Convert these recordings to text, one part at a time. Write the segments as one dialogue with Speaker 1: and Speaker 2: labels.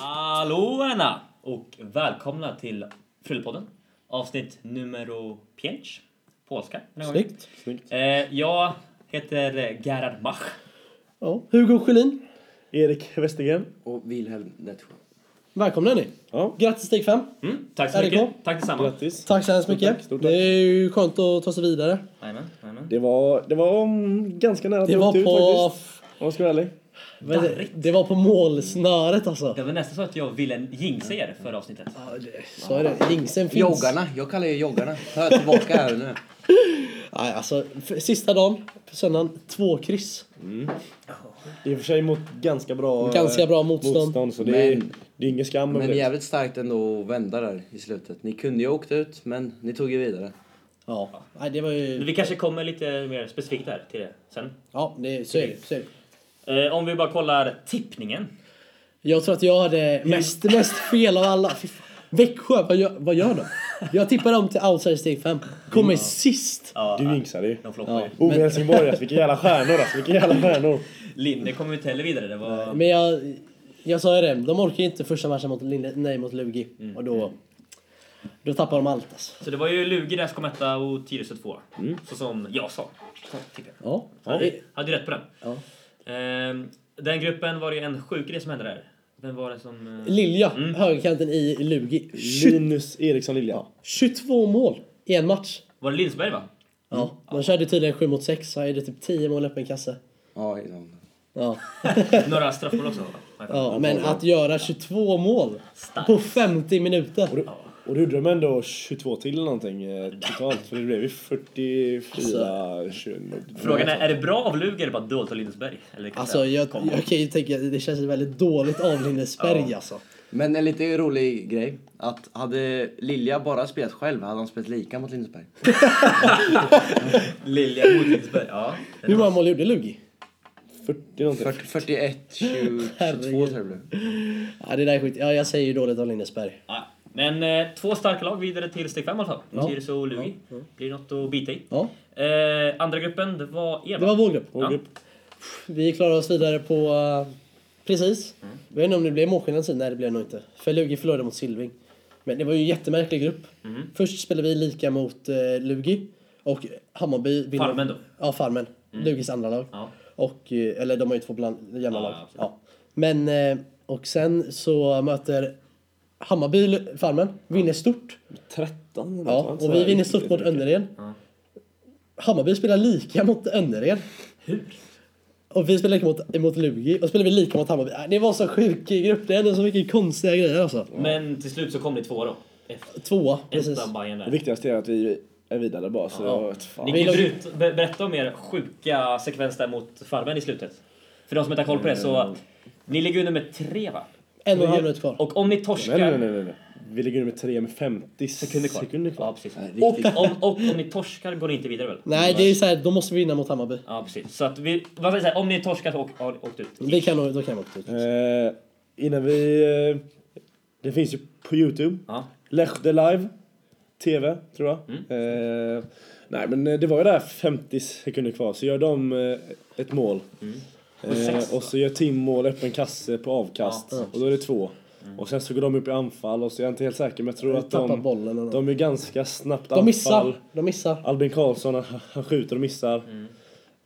Speaker 1: Hallå Anna! Och välkomna till Fyllepodden. Avsnitt numero 5. Polska. den här gången.
Speaker 2: Snyggt. Snyggt.
Speaker 1: Eh, jag heter Gerhard Mach.
Speaker 2: Ja. Hugo Schelin. Erik Westergren.
Speaker 3: Och Wilhelm Nettsjö.
Speaker 2: Välkomna ni.
Speaker 4: Ja.
Speaker 2: Grattis steg 5.
Speaker 1: Mm, tack så
Speaker 2: RIK.
Speaker 1: mycket. Tack detsamma.
Speaker 4: Grattis.
Speaker 2: Tack så hemskt mycket.
Speaker 4: tack, stort tack.
Speaker 2: Det är ju skönt att ta sig vidare.
Speaker 1: Jajamän, jajamän.
Speaker 4: Det var, det var mm, ganska nära att
Speaker 2: Det
Speaker 4: jag
Speaker 2: var
Speaker 4: åkte ut
Speaker 2: på...
Speaker 4: faktiskt. Om jag ska vara ärlig.
Speaker 2: vad är det? det var på målsnöret alltså.
Speaker 1: Det var nästan så att jag ville jinxa er förra avsnittet.
Speaker 2: Så är det. Jinxen finns.
Speaker 3: Joggarna, jag kallar ju joggarna. Hör tillbaka här nu.
Speaker 2: Nej, alltså, f- sista dagen, på söndagen, två kryss.
Speaker 4: I och för sig mot ganska bra,
Speaker 2: Ganska bra
Speaker 4: eh,
Speaker 2: motstånd.
Speaker 4: så det, är,
Speaker 3: Men-
Speaker 4: det är ingen skam över
Speaker 3: Men
Speaker 4: det.
Speaker 3: jävligt starkt ändå att vända där i slutet. Ni kunde ju ha åkt ut, men ni tog ju vidare.
Speaker 2: Ja. Nej, det var
Speaker 1: Men
Speaker 2: ju...
Speaker 1: Vi kanske kommer lite mer specifikt där till det sen.
Speaker 2: Ja, det, så är det. Så är det.
Speaker 1: Eh, om vi bara kollar tippningen.
Speaker 2: Jag tror att jag hade mest, mest fel av alla. Fy fan. Växjö, vad gör, vad gör de? Jag tippar dem till outsider steg 5. Kommer sist.
Speaker 1: Ja,
Speaker 4: Du jinxade ju.
Speaker 1: de floppar ju.
Speaker 4: Ove Helsingborg alltså, vilka jävla stjärnor alltså, vilka jävla stjärnor.
Speaker 1: Linde kommer inte heller vidare. Det var...
Speaker 2: Men jag, jag sa ju det, de orkar ju inte första matchen mot Linde, nej mot Lugi. Och då, då tappar de allt alltså.
Speaker 1: Så det var ju Lugi där som kom etta och Tyresö tvåa. Så som jag sa. Så tippar jag.
Speaker 2: Ja.
Speaker 1: Hade ju- Hade ju rätt på den.
Speaker 2: Ja.
Speaker 1: Ehm, den gruppen var det ju en sjuk grej som hände där. Vem var det som... eh,
Speaker 2: Lilja, högerkanten i Lugi. Tju-
Speaker 4: Linus Eriksson Lilja.
Speaker 2: 22 mål i en match.
Speaker 1: Var det Lindsberg va?
Speaker 2: Ja. De körde tydligen 7 mot 6, så är det typ 10 mål i öppen kasse.
Speaker 3: Ja, innan.
Speaker 2: Ja.
Speaker 1: Några straffmål också va?
Speaker 2: ja. Men att göra 22 mål på 50 minuter.
Speaker 4: Och, och du gjorde de ändå 22 till eller någonting eh, totalt för det blev ju 44,
Speaker 2: Alltså.
Speaker 4: 20.
Speaker 1: Frågan är, är det bra av Lugi eller bara dåligt av Lindesberg? Eller kanske
Speaker 2: Alltså jag,
Speaker 1: kombo?
Speaker 2: jag kan ju tänka, det känns väldigt dåligt av Lindesberg
Speaker 1: Ja.
Speaker 2: alltså.
Speaker 3: Men en lite rolig grej. Att hade Lilja bara spelat själv hade han spelat lika mot Lindesberg.
Speaker 1: Lilja mot Lindesberg, ja.
Speaker 2: Hur många mål gjorde Lugi?
Speaker 4: 40 någonting.
Speaker 3: 40, 41, 20, 22 tror jag det blev.
Speaker 2: Ja, det där är skit. Ja, jag säger ju dåligt av Lindesberg.
Speaker 1: Ja, Men eh, två starka lag vidare till steg fem i alla fall.
Speaker 2: Ja.
Speaker 1: Tyresö och Lugi. Blir något att bita i.
Speaker 2: Ja.
Speaker 1: Eh, andra gruppen, det var er
Speaker 2: Det var
Speaker 1: va?
Speaker 2: vår grupp.
Speaker 4: Vår
Speaker 1: Ja.
Speaker 4: grupp.
Speaker 2: Vi klarar oss vidare på... eh, precis.
Speaker 1: Mm.
Speaker 2: Jag vet inte om det blev målskillnad sen. Nej, det blev det nog inte. För Lugi förlorade mot Silving. Men det var ju en jättemärklig grupp.
Speaker 1: Mm.
Speaker 2: Först spelade vi lika mot eh, Lugi. Och Hammarby... vinner-
Speaker 1: Farmen då? Mm.
Speaker 2: Ja, Farmen. Lugis andra lag.
Speaker 1: Ja. Ah,
Speaker 2: Och, eh, eller de har ju två bland, jämna
Speaker 1: Ja,
Speaker 2: lag.
Speaker 1: absolut.
Speaker 2: Ja. Men, eh, och sen så möter Hammarby Lu- Farmen. Vinner stort.
Speaker 4: 13 eller något, va?
Speaker 2: Ja,
Speaker 4: Så
Speaker 2: och vi
Speaker 4: här,
Speaker 2: vinner
Speaker 4: riktigt
Speaker 2: stort mot
Speaker 4: mycket.
Speaker 2: Önnered. Hammarby spelar lika mot Önnered.
Speaker 1: Hur?
Speaker 2: Och vi spelar lika mot, mot Lugi och spelar vi lika mot Hammarby. Äh, Det var så sjuk grupp, det hände så mycket konstiga grejer alltså.
Speaker 1: Men till slut så kom ni två då. Efter
Speaker 2: Tvåa, precis.
Speaker 1: etta Bajen där.
Speaker 4: Det viktigaste är att vi är vidare bara så det var ett fan.
Speaker 1: Ni kan ju berut- be- berätta om er sjuka sekvens där mot Farmen i slutet. För de som inte har koll på det så... Ni ligger under med tre va?
Speaker 2: En och en halv minut kvar.
Speaker 1: Och om ni
Speaker 4: Nej, nej, nej,
Speaker 1: torskar...
Speaker 4: nej, nej. Vi ligger nummer tre med 50
Speaker 1: Sekunder kvar.
Speaker 4: Sekunder kvar.
Speaker 1: Ja, precis.
Speaker 3: Riktigt.
Speaker 1: Om, och om ni torskar går ni inte vidare väl?
Speaker 2: Nej, det är så här, då måste vi vinna mot Hammarby.
Speaker 1: Ja, precis. Så att vi... Vad ska jag säga? Om ni torskar så åk- har ni åkt ut.
Speaker 2: Vi kan nog, då kan vi åka ut.
Speaker 4: Eh, innan vi... Eh, det finns ju på Youtube.
Speaker 1: Ja. Mm.
Speaker 4: Lehde live. TV, tror jag. Eh, nej, men eh, det var ju där 50 sekunder kvar. Så gör de eh, ett mål.
Speaker 1: Mm.
Speaker 4: Eh, och så gör Tim mål, öppen kasse på avkast. Och då är det två.
Speaker 1: Mm.
Speaker 4: Och sen så går de upp i anfall och så är jag inte helt säker men jag tror att
Speaker 2: Tappar
Speaker 4: de...
Speaker 2: bollen eller något.
Speaker 4: De är ganska snabbt
Speaker 2: De
Speaker 4: anfall.
Speaker 2: missar. De missar.
Speaker 4: Albin Karlsson, han- han skjuter och missar.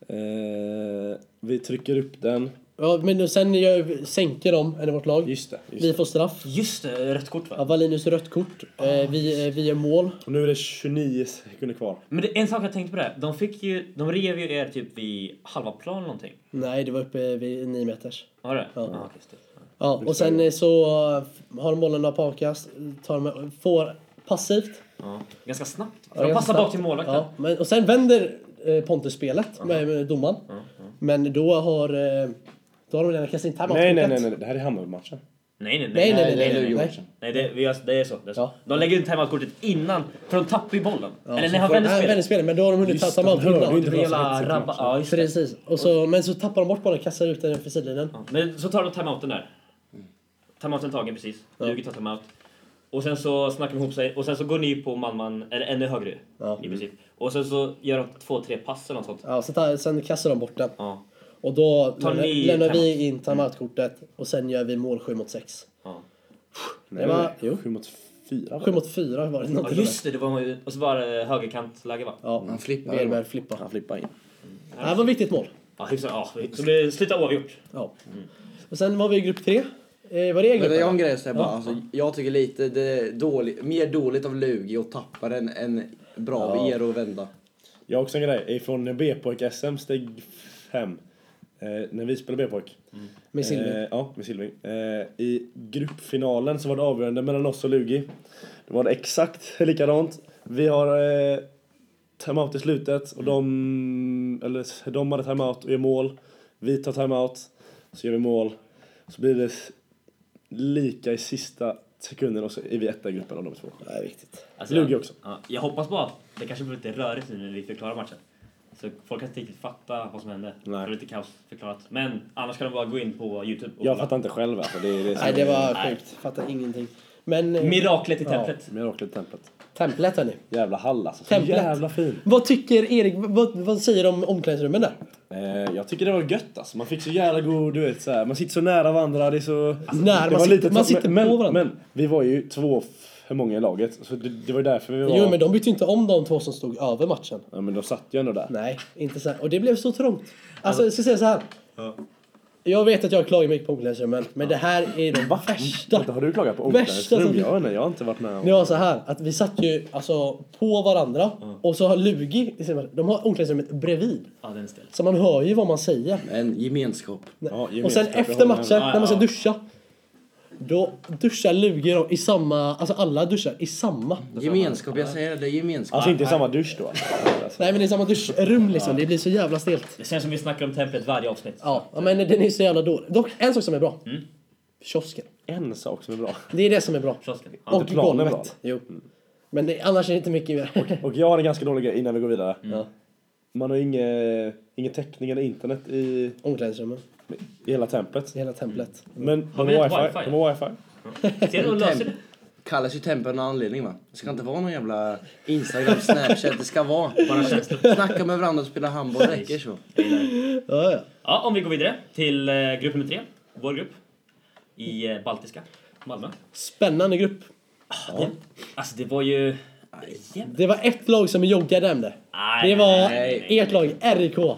Speaker 4: Eh, vi trycker upp den.
Speaker 2: Ja, men nu- sen gör, sänker de, eller vårt lag.
Speaker 4: Just det. Just
Speaker 2: Vi får straff.
Speaker 1: Just det, rött kort
Speaker 2: Ja,
Speaker 1: va?
Speaker 2: Valinus rött kort. Eh, vi, eh, vi gör mål.
Speaker 4: det. Och nu är det 29 sekunder kvar.
Speaker 1: Men det, en sak jag tänkte på det. här. De fick ju... De rev ju er typ vid halva plan eller någonting.
Speaker 2: Nej, det var uppe vid nio meters.
Speaker 1: Var det?
Speaker 2: Ja.
Speaker 1: Ja, just det.
Speaker 2: Ja, och sen eh, så eh, har de bollen där på avkast. Tar de, får passivt.
Speaker 1: Ja. Ganska snabbt.
Speaker 2: Ja,
Speaker 1: De
Speaker 2: ganska
Speaker 1: passar
Speaker 2: snabbt.
Speaker 1: bak till målvakten.
Speaker 2: Ja, men, och sen vänder eh, Pontus spelet med, med domaren. Men då har, eh, då har de redan kastat in timeout
Speaker 4: Nej, nej, nej, nej. Det här är Hammarby-matchen.
Speaker 1: Nej, nej,
Speaker 2: Nej,
Speaker 1: nej.
Speaker 2: nej, nej, nej,
Speaker 3: Nej,
Speaker 2: nej, nej.
Speaker 3: Lugi-matchen.
Speaker 1: Nej, det, vi har, det är så. Det är så.
Speaker 2: Ja.
Speaker 1: De lägger ut timeout-kortet innan, för de tappar ju bollen.
Speaker 2: Ja,
Speaker 1: Eller
Speaker 2: så
Speaker 1: när han
Speaker 2: får-
Speaker 1: vänder
Speaker 2: nej, vänder
Speaker 1: spelet.
Speaker 2: spelet. Men då har de hunnit ta
Speaker 4: Just det,
Speaker 2: timeout
Speaker 4: de hörde
Speaker 2: innan.
Speaker 4: ju inte.
Speaker 1: Det blir jävla
Speaker 4: Alltså,
Speaker 1: rabba... Ja, just det.
Speaker 2: Precis. Och så, men så tappar de bort bollen, kastar ut den för sidlinjen.
Speaker 1: Men så tar de timeouten där. Timeouten tagen precis. Lugi tar timeout. Och sen så snackar de ihop sig och sen så går ni på man-man, eller ännu högre
Speaker 2: Ja.
Speaker 1: i princip. Och sen så gör de två, tre pass eller något sånt.
Speaker 2: Ja, så tar, sen kastar de bort den.
Speaker 1: Ja.
Speaker 2: Och då
Speaker 1: Tar
Speaker 2: lämnar,
Speaker 1: ni
Speaker 2: lämnar vi
Speaker 1: timeout?
Speaker 2: in timeout-kortet och sen gör vi mål 7 mot 6.
Speaker 1: ja.
Speaker 2: Det var, jo,
Speaker 4: 7 mot 4
Speaker 2: 7 mot 4 var det
Speaker 1: Ja
Speaker 2: någonting.
Speaker 1: just det, det var ju... Och så var det högerkantläge va?
Speaker 2: Ja,
Speaker 3: Han flippade.
Speaker 2: Berberg flippa.
Speaker 4: Han flippar in.
Speaker 2: Det här var ett viktigt mål.
Speaker 1: Ja, hyfsat. Ja, så det slutar oavgjort.
Speaker 2: Ja. Och sen var vi i grupp 3. Eh, var det
Speaker 3: Men det är en
Speaker 2: E-gruppen?
Speaker 3: grej så jag bara,
Speaker 2: Ja.
Speaker 3: alltså, jag tycker lite det är dåligt, mer dåligt av Lugi att tappa den än bra av
Speaker 4: Ja.
Speaker 3: er att vända.
Speaker 4: Jag har också en grej. Från B-pojk-SM steg 5. Eh, när vi spelade B-pojk.
Speaker 2: Med Silvio.
Speaker 4: Eh, ja, med Silving. Eh, I gruppfinalen så var det avgörande mellan oss och Lugi. Då var det exakt likadant. Vi har eh, timeout i slutet och de, eller, de hade timeout och gör mål. Vi tar timeout, så gör vi mål. Så blir det s- lika i sista sekunden och så är vi etta i gruppen av de två.
Speaker 2: Det är viktigt.
Speaker 1: Alltså,
Speaker 4: Lugi
Speaker 1: jag-
Speaker 4: också.
Speaker 1: Ja, jag hoppas bara att det kanske blir lite rörigt nu när vi förklarar matchen. Så folk kan inte riktigt fatta vad som hände.
Speaker 4: Nej.
Speaker 1: Det är lite kaos förklarat. Men annars kan de bara gå in på Youtube och
Speaker 4: Jag fattar inte själv alltså. Det är det som
Speaker 2: Nej, det var
Speaker 1: Nej.
Speaker 2: sjukt. Fattar ingenting. Men... eh,
Speaker 1: Miraklet i templet.
Speaker 4: är miraklet i templet.
Speaker 2: Templet hörni.
Speaker 4: Jävla hall alltså. Så
Speaker 2: Templet.
Speaker 4: Jävla fin.
Speaker 2: Vad tycker Erik, vad, vad säger du om omklädningsrummen där?
Speaker 4: Eh, jag tycker det var gött alltså. Man fick så jävla god, du vet så här. man sitter så nära varandra, det är så...
Speaker 2: nära,
Speaker 4: Alltså, det
Speaker 2: man
Speaker 4: var
Speaker 2: sitter-
Speaker 4: lite-
Speaker 2: man sitter
Speaker 4: men,
Speaker 2: på varandra.
Speaker 4: Men vi var ju två för många i laget, så det, det var ju därför vi var...
Speaker 2: Jo men de bytte ju inte om de två som stod över matchen.
Speaker 4: Ja men de satt ju ändå där.
Speaker 2: Nej, inte så här. Och det blev så trångt. Alltså jag ska säga så här. Jag vet att jag klagar mycket på omklädningsrummen, men det här är de värsta.
Speaker 4: Vänta, har du klagat på
Speaker 2: Värsta som-
Speaker 4: omklädningsrum? Jag, nej, jag har inte varit med om...
Speaker 2: Det var så här att vi satt ju alltså på varandra och så har Lugi, de har omklädningsrummet bredvid.
Speaker 1: Ja, den ställs.
Speaker 2: Så man hör ju vad man säger.
Speaker 3: En gemenskap.
Speaker 4: Ja,
Speaker 2: och sen
Speaker 4: gemenskap, jag
Speaker 2: efter
Speaker 4: håller med.
Speaker 2: matchen,
Speaker 1: Ja,
Speaker 2: när man ska
Speaker 1: ja.
Speaker 2: duscha. Då duschar Lugi då i samma, alltså alla duschar i samma.
Speaker 3: Gemenskap, jag säger det, det är gemenskap.
Speaker 4: Alltså inte i samma dusch då. Alltså.
Speaker 2: Nej men det är samma duschrum liksom, det blir så jävla stelt.
Speaker 1: Det känns som vi snackar om templet varje avsnitt.
Speaker 2: Ja, ja, men den är så jävla dålig. Dock, en sak som är bra. Kiosken.
Speaker 4: En sak som är bra.
Speaker 2: Det är det som är bra.
Speaker 1: Kiosken. Ja.
Speaker 2: Och
Speaker 4: inte planen är
Speaker 2: golvet. Jo. Men det, annars är det inte mycket mer.
Speaker 4: Och jag har en ganska dålig grej innan vi går vidare. Man har ju inge, ingen täckning eller internet i,
Speaker 2: Omklädningsrummen.
Speaker 4: i hela templet.
Speaker 2: i Hela templet.
Speaker 4: Men de har
Speaker 1: vi inte
Speaker 4: wifi.
Speaker 1: wifi?
Speaker 4: De har wifi.
Speaker 1: Ser du de löser det?
Speaker 3: Kallas ju Tempe av någon anledning va? Det ska inte vara någon jävla Instagram, Snapchat, det ska vara.
Speaker 1: Bara känslor.
Speaker 3: Snacka med varandra och spela handboll, det räcker så.
Speaker 2: Ja, ja.
Speaker 1: Ja, om vi går vidare till eh, grupp nummer tre. Vår grupp. I eh, Baltiska. Malmö.
Speaker 2: Spännande grupp.
Speaker 1: Alltså det var ju... Jävlar.
Speaker 2: Det var ett lag som joggade hem det.
Speaker 1: Nej,
Speaker 2: Det var
Speaker 1: nej, nej.
Speaker 2: ert lag, RIK.
Speaker 1: Nej,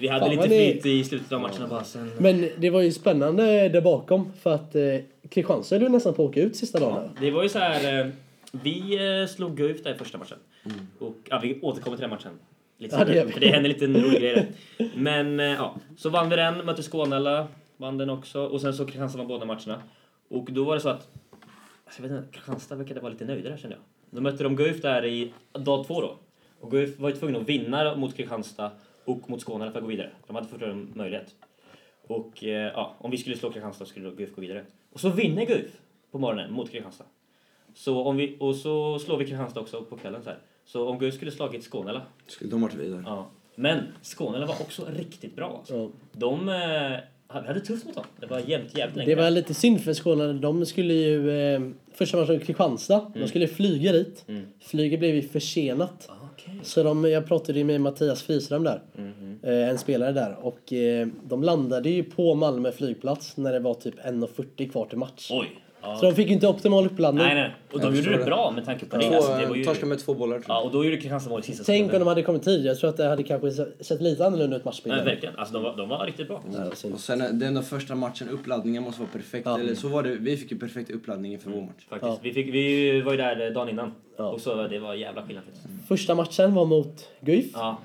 Speaker 1: Vi hade
Speaker 2: Fan,
Speaker 1: lite
Speaker 2: vad ni-
Speaker 1: flyt i slutet av matcherna bara sen...
Speaker 2: Men det var ju spännande där bakom för att eh, Kristianstad höll ju nästan på att åka ut sista dagen.
Speaker 1: Det var ju så här... eh, Vi eh, slog Guif där i första matchen. Och, ja, vi återkommer till den matchen. Lite
Speaker 2: Ja, det
Speaker 1: senare,
Speaker 2: gör vi.
Speaker 1: för det hände lite en rolig grej där. Men eh, ja, så vann vi den, mötte Skånela, vann den också. Och sen så Kristianstad vann båda matcherna. Och då var det så att... Alltså, jag vet inte, Kristianstad verkade vara lite nöjda där kände jag. Då mötte de Guif där i dag två då. Och Guif var ju tvungna att vinna mot Kristianstad och mot Skånela för att gå vidare. De hade fortfarande en möjlighet. Och eh, ja, om vi skulle slå Kristianstad skulle då Guif gå vidare. Och så vinner Guif på morgonen mot Kristianstad. Så om vi, och så slår vi Kristianstad också på kvällen så här. Så om Guif skulle slagit Skånela.
Speaker 3: Skulle de varit vidare?
Speaker 1: Ja. Men Skånela var också riktigt bra alltså.
Speaker 2: Ja.
Speaker 1: De eh, hade hade tufft mot dem. Det var jämnt jävligt länge.
Speaker 2: Det var lite synd för Skåne. De skulle ju... Eh, första matchen var Kristianstad.
Speaker 1: Mm.
Speaker 2: De skulle flyga dit. Flyget blev ju försenat.
Speaker 1: Ah, Okej.
Speaker 2: Så de, jag pratade ju med Mattias Fryström där.
Speaker 1: Mm-hmm.
Speaker 2: Eh, en spelare där. Och eh, de landade ju på Malmö flygplats när det var typ 1.40 kvar till match.
Speaker 1: Oj. Ja.
Speaker 2: Så de fick ju inte optimal uppladdning.
Speaker 1: Nej, nej. Och de
Speaker 3: Jag
Speaker 1: gjorde
Speaker 3: förstår
Speaker 1: det
Speaker 3: det.
Speaker 1: bra med tanke på det.
Speaker 3: Två,
Speaker 1: Alltså, det var ju...
Speaker 3: Torska med två bollar tror jag.
Speaker 1: Ja, och då gjorde Kristianstad mål i sista
Speaker 2: Tänk om
Speaker 1: sekunden.
Speaker 2: de hade kommit tidigare. Jag tror att det hade kanske sett lite annorlunda ut
Speaker 1: Nej,
Speaker 2: matchbilden.
Speaker 1: verkligen. Alltså, de, var, de var riktigt bra.
Speaker 2: Ja, det var synd.
Speaker 3: Och sen den där första matchen, uppladdningen måste vara perfekt.
Speaker 2: Ja.
Speaker 3: Eller så var det, vi fick ju perfekt uppladdning inför vår match.
Speaker 1: Faktiskt.
Speaker 2: Ja.
Speaker 1: Vi, fick, vi var ju där eh, dagen innan.
Speaker 2: Ja.
Speaker 1: Och så det var jävla skillnad. faktiskt.
Speaker 2: Första matchen var mot Guif.
Speaker 1: Ja.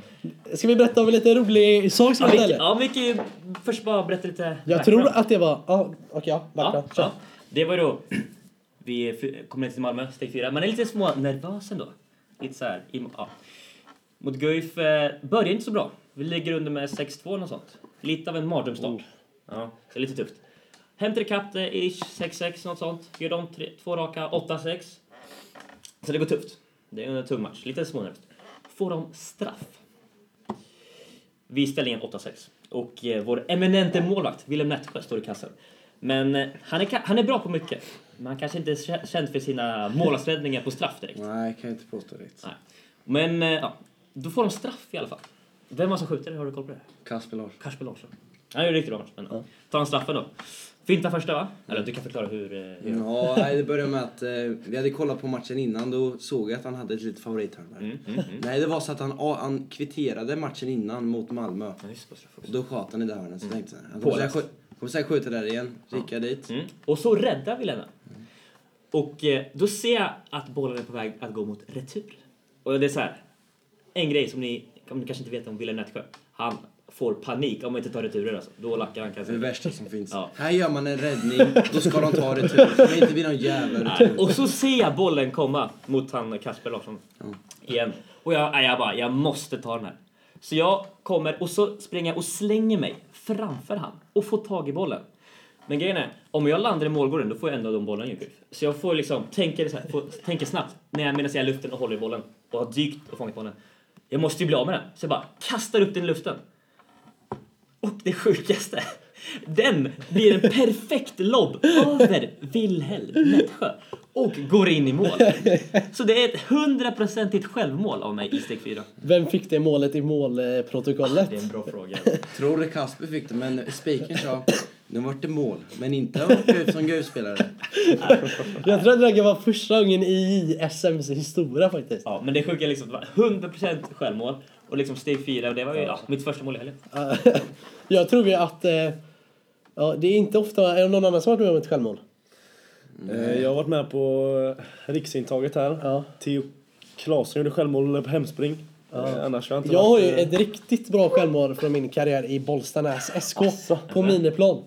Speaker 2: Ska vi berätta om en lite rolig sak som
Speaker 1: Ja, vi,
Speaker 2: hände? eller?
Speaker 1: ja, vi kan ju först bara berätta lite.
Speaker 2: Jag tror att det var... Ja, okej, ja.
Speaker 1: Ja,
Speaker 2: Backla. Kör.
Speaker 1: ja. Det var ju då... Vi är fy- kommer ner till Malmö, steg fyra. Man är lite små nervös ändå. Lite så här, i, ja. Mot Guif eh, börjar inte så bra. Vi ligger under med 6-2 något sånt. Lite av en mardrömsstart. Ja, så lite tufft. Hämtar ikapp det i 6-6 något sånt. Gör de tre, två raka, 8-6. Så det går tufft. Det är en tung match. Lite smånervöst. Får de straff. Vid ställningen 8-6. Och eh, vår eminente målvakt, Willem Nettsjö, står i kassen. Men eh, han är, ka- han är bra på mycket. Men han kanske inte är kä- känd för sina målvaktsräddningar på straff direkt.
Speaker 3: Nej, kan jag inte påstå riktigt.
Speaker 1: Nej. Men eh, ja, då får de straff i alla fall. Vem var det som skjuter? Har du koll på det?
Speaker 3: Kasper Larsson.
Speaker 1: Kasper Larsson. Han gjorde en riktigt bra match. Men, ja. Tar han straffen då? Finta första va? Eller du kan förklara hur... eh, hur.
Speaker 3: Ja, nej, det började med att eh, vi hade kollat på matchen innan. Då såg jag att han hade ett litet favorithörn där.
Speaker 1: Mm, mm, mm.
Speaker 3: Nej, det var så att han, ah, han kvitterade matchen innan mot Malmö.
Speaker 1: Ja, just det, straff också.
Speaker 3: Och då sköt han i det hörnet. Så tänkte jag, han kommer säkert skjuta- kommer säkert skjuta där igen. Ricka dit.
Speaker 1: Mm. Och så räddar vi Lena. Och eh, då ser jag att bollen är på väg att gå mot retur. Och det är så här. En grej som ni, om ni kanske inte vet om Wilhelm Nätsjö. Han får panik om man inte tar returen alltså. Då lackar han
Speaker 3: Det är
Speaker 1: kanske.
Speaker 3: det värsta som finns.
Speaker 1: Ja.
Speaker 3: Här gör man en räddning, då ska de ta retur. Det är inte bli någon jävla retur.
Speaker 1: Och så ser jag bollen komma mot han Kasper Larsson. Igen. Och jag, nej, jag bara, jag måste ta den här. Så jag kommer och så springer jag och slänger mig framför han och får tag i bollen. Men grejen är, om jag landar i målgården då får jag ändå de bollen ju. Gryf. Så jag får liksom tänka, så här, får, tänka snabbt när jag medan jag är i luften och håller i bollen och har dykt och fångat bollen. Jag måste ju bli av med den. Så jag bara kastar upp den i luften. Och det sjukaste. Den blir en perfekt lobb över Wilhelm Nätsjö och går in i mål. Så det är ett hundraprocentigt självmål av mig i steg fyra.
Speaker 2: Vem fick det målet i målprotokollet?
Speaker 1: Det är en bra fråga.
Speaker 3: Tror att Kasper fick det, men spiken sa nu vart det mål, men inte vart Guif som Guif-spelare.
Speaker 2: Jag tror att det var första gången i SMs historia faktiskt.
Speaker 1: Ja, men det sjuka är liksom, det var 100% självmål och liksom steg fyra och det var ju ja, mitt första mål i helgen.
Speaker 2: Ja. jag tror ju att... Eh, ja, det är inte ofta... Är det någon annan som har varit med om ett självmål?
Speaker 4: Eh, Jag har varit med på eh, riksintaget här.
Speaker 2: Ja.
Speaker 4: Theo Klasen gjorde självmål på hemspring. Eh, Annars har jag inte
Speaker 2: Jag har
Speaker 4: varit...
Speaker 2: ju
Speaker 4: eh,
Speaker 2: ett riktigt bra självmål från min karriär i Bollstanäs SK på miniplan.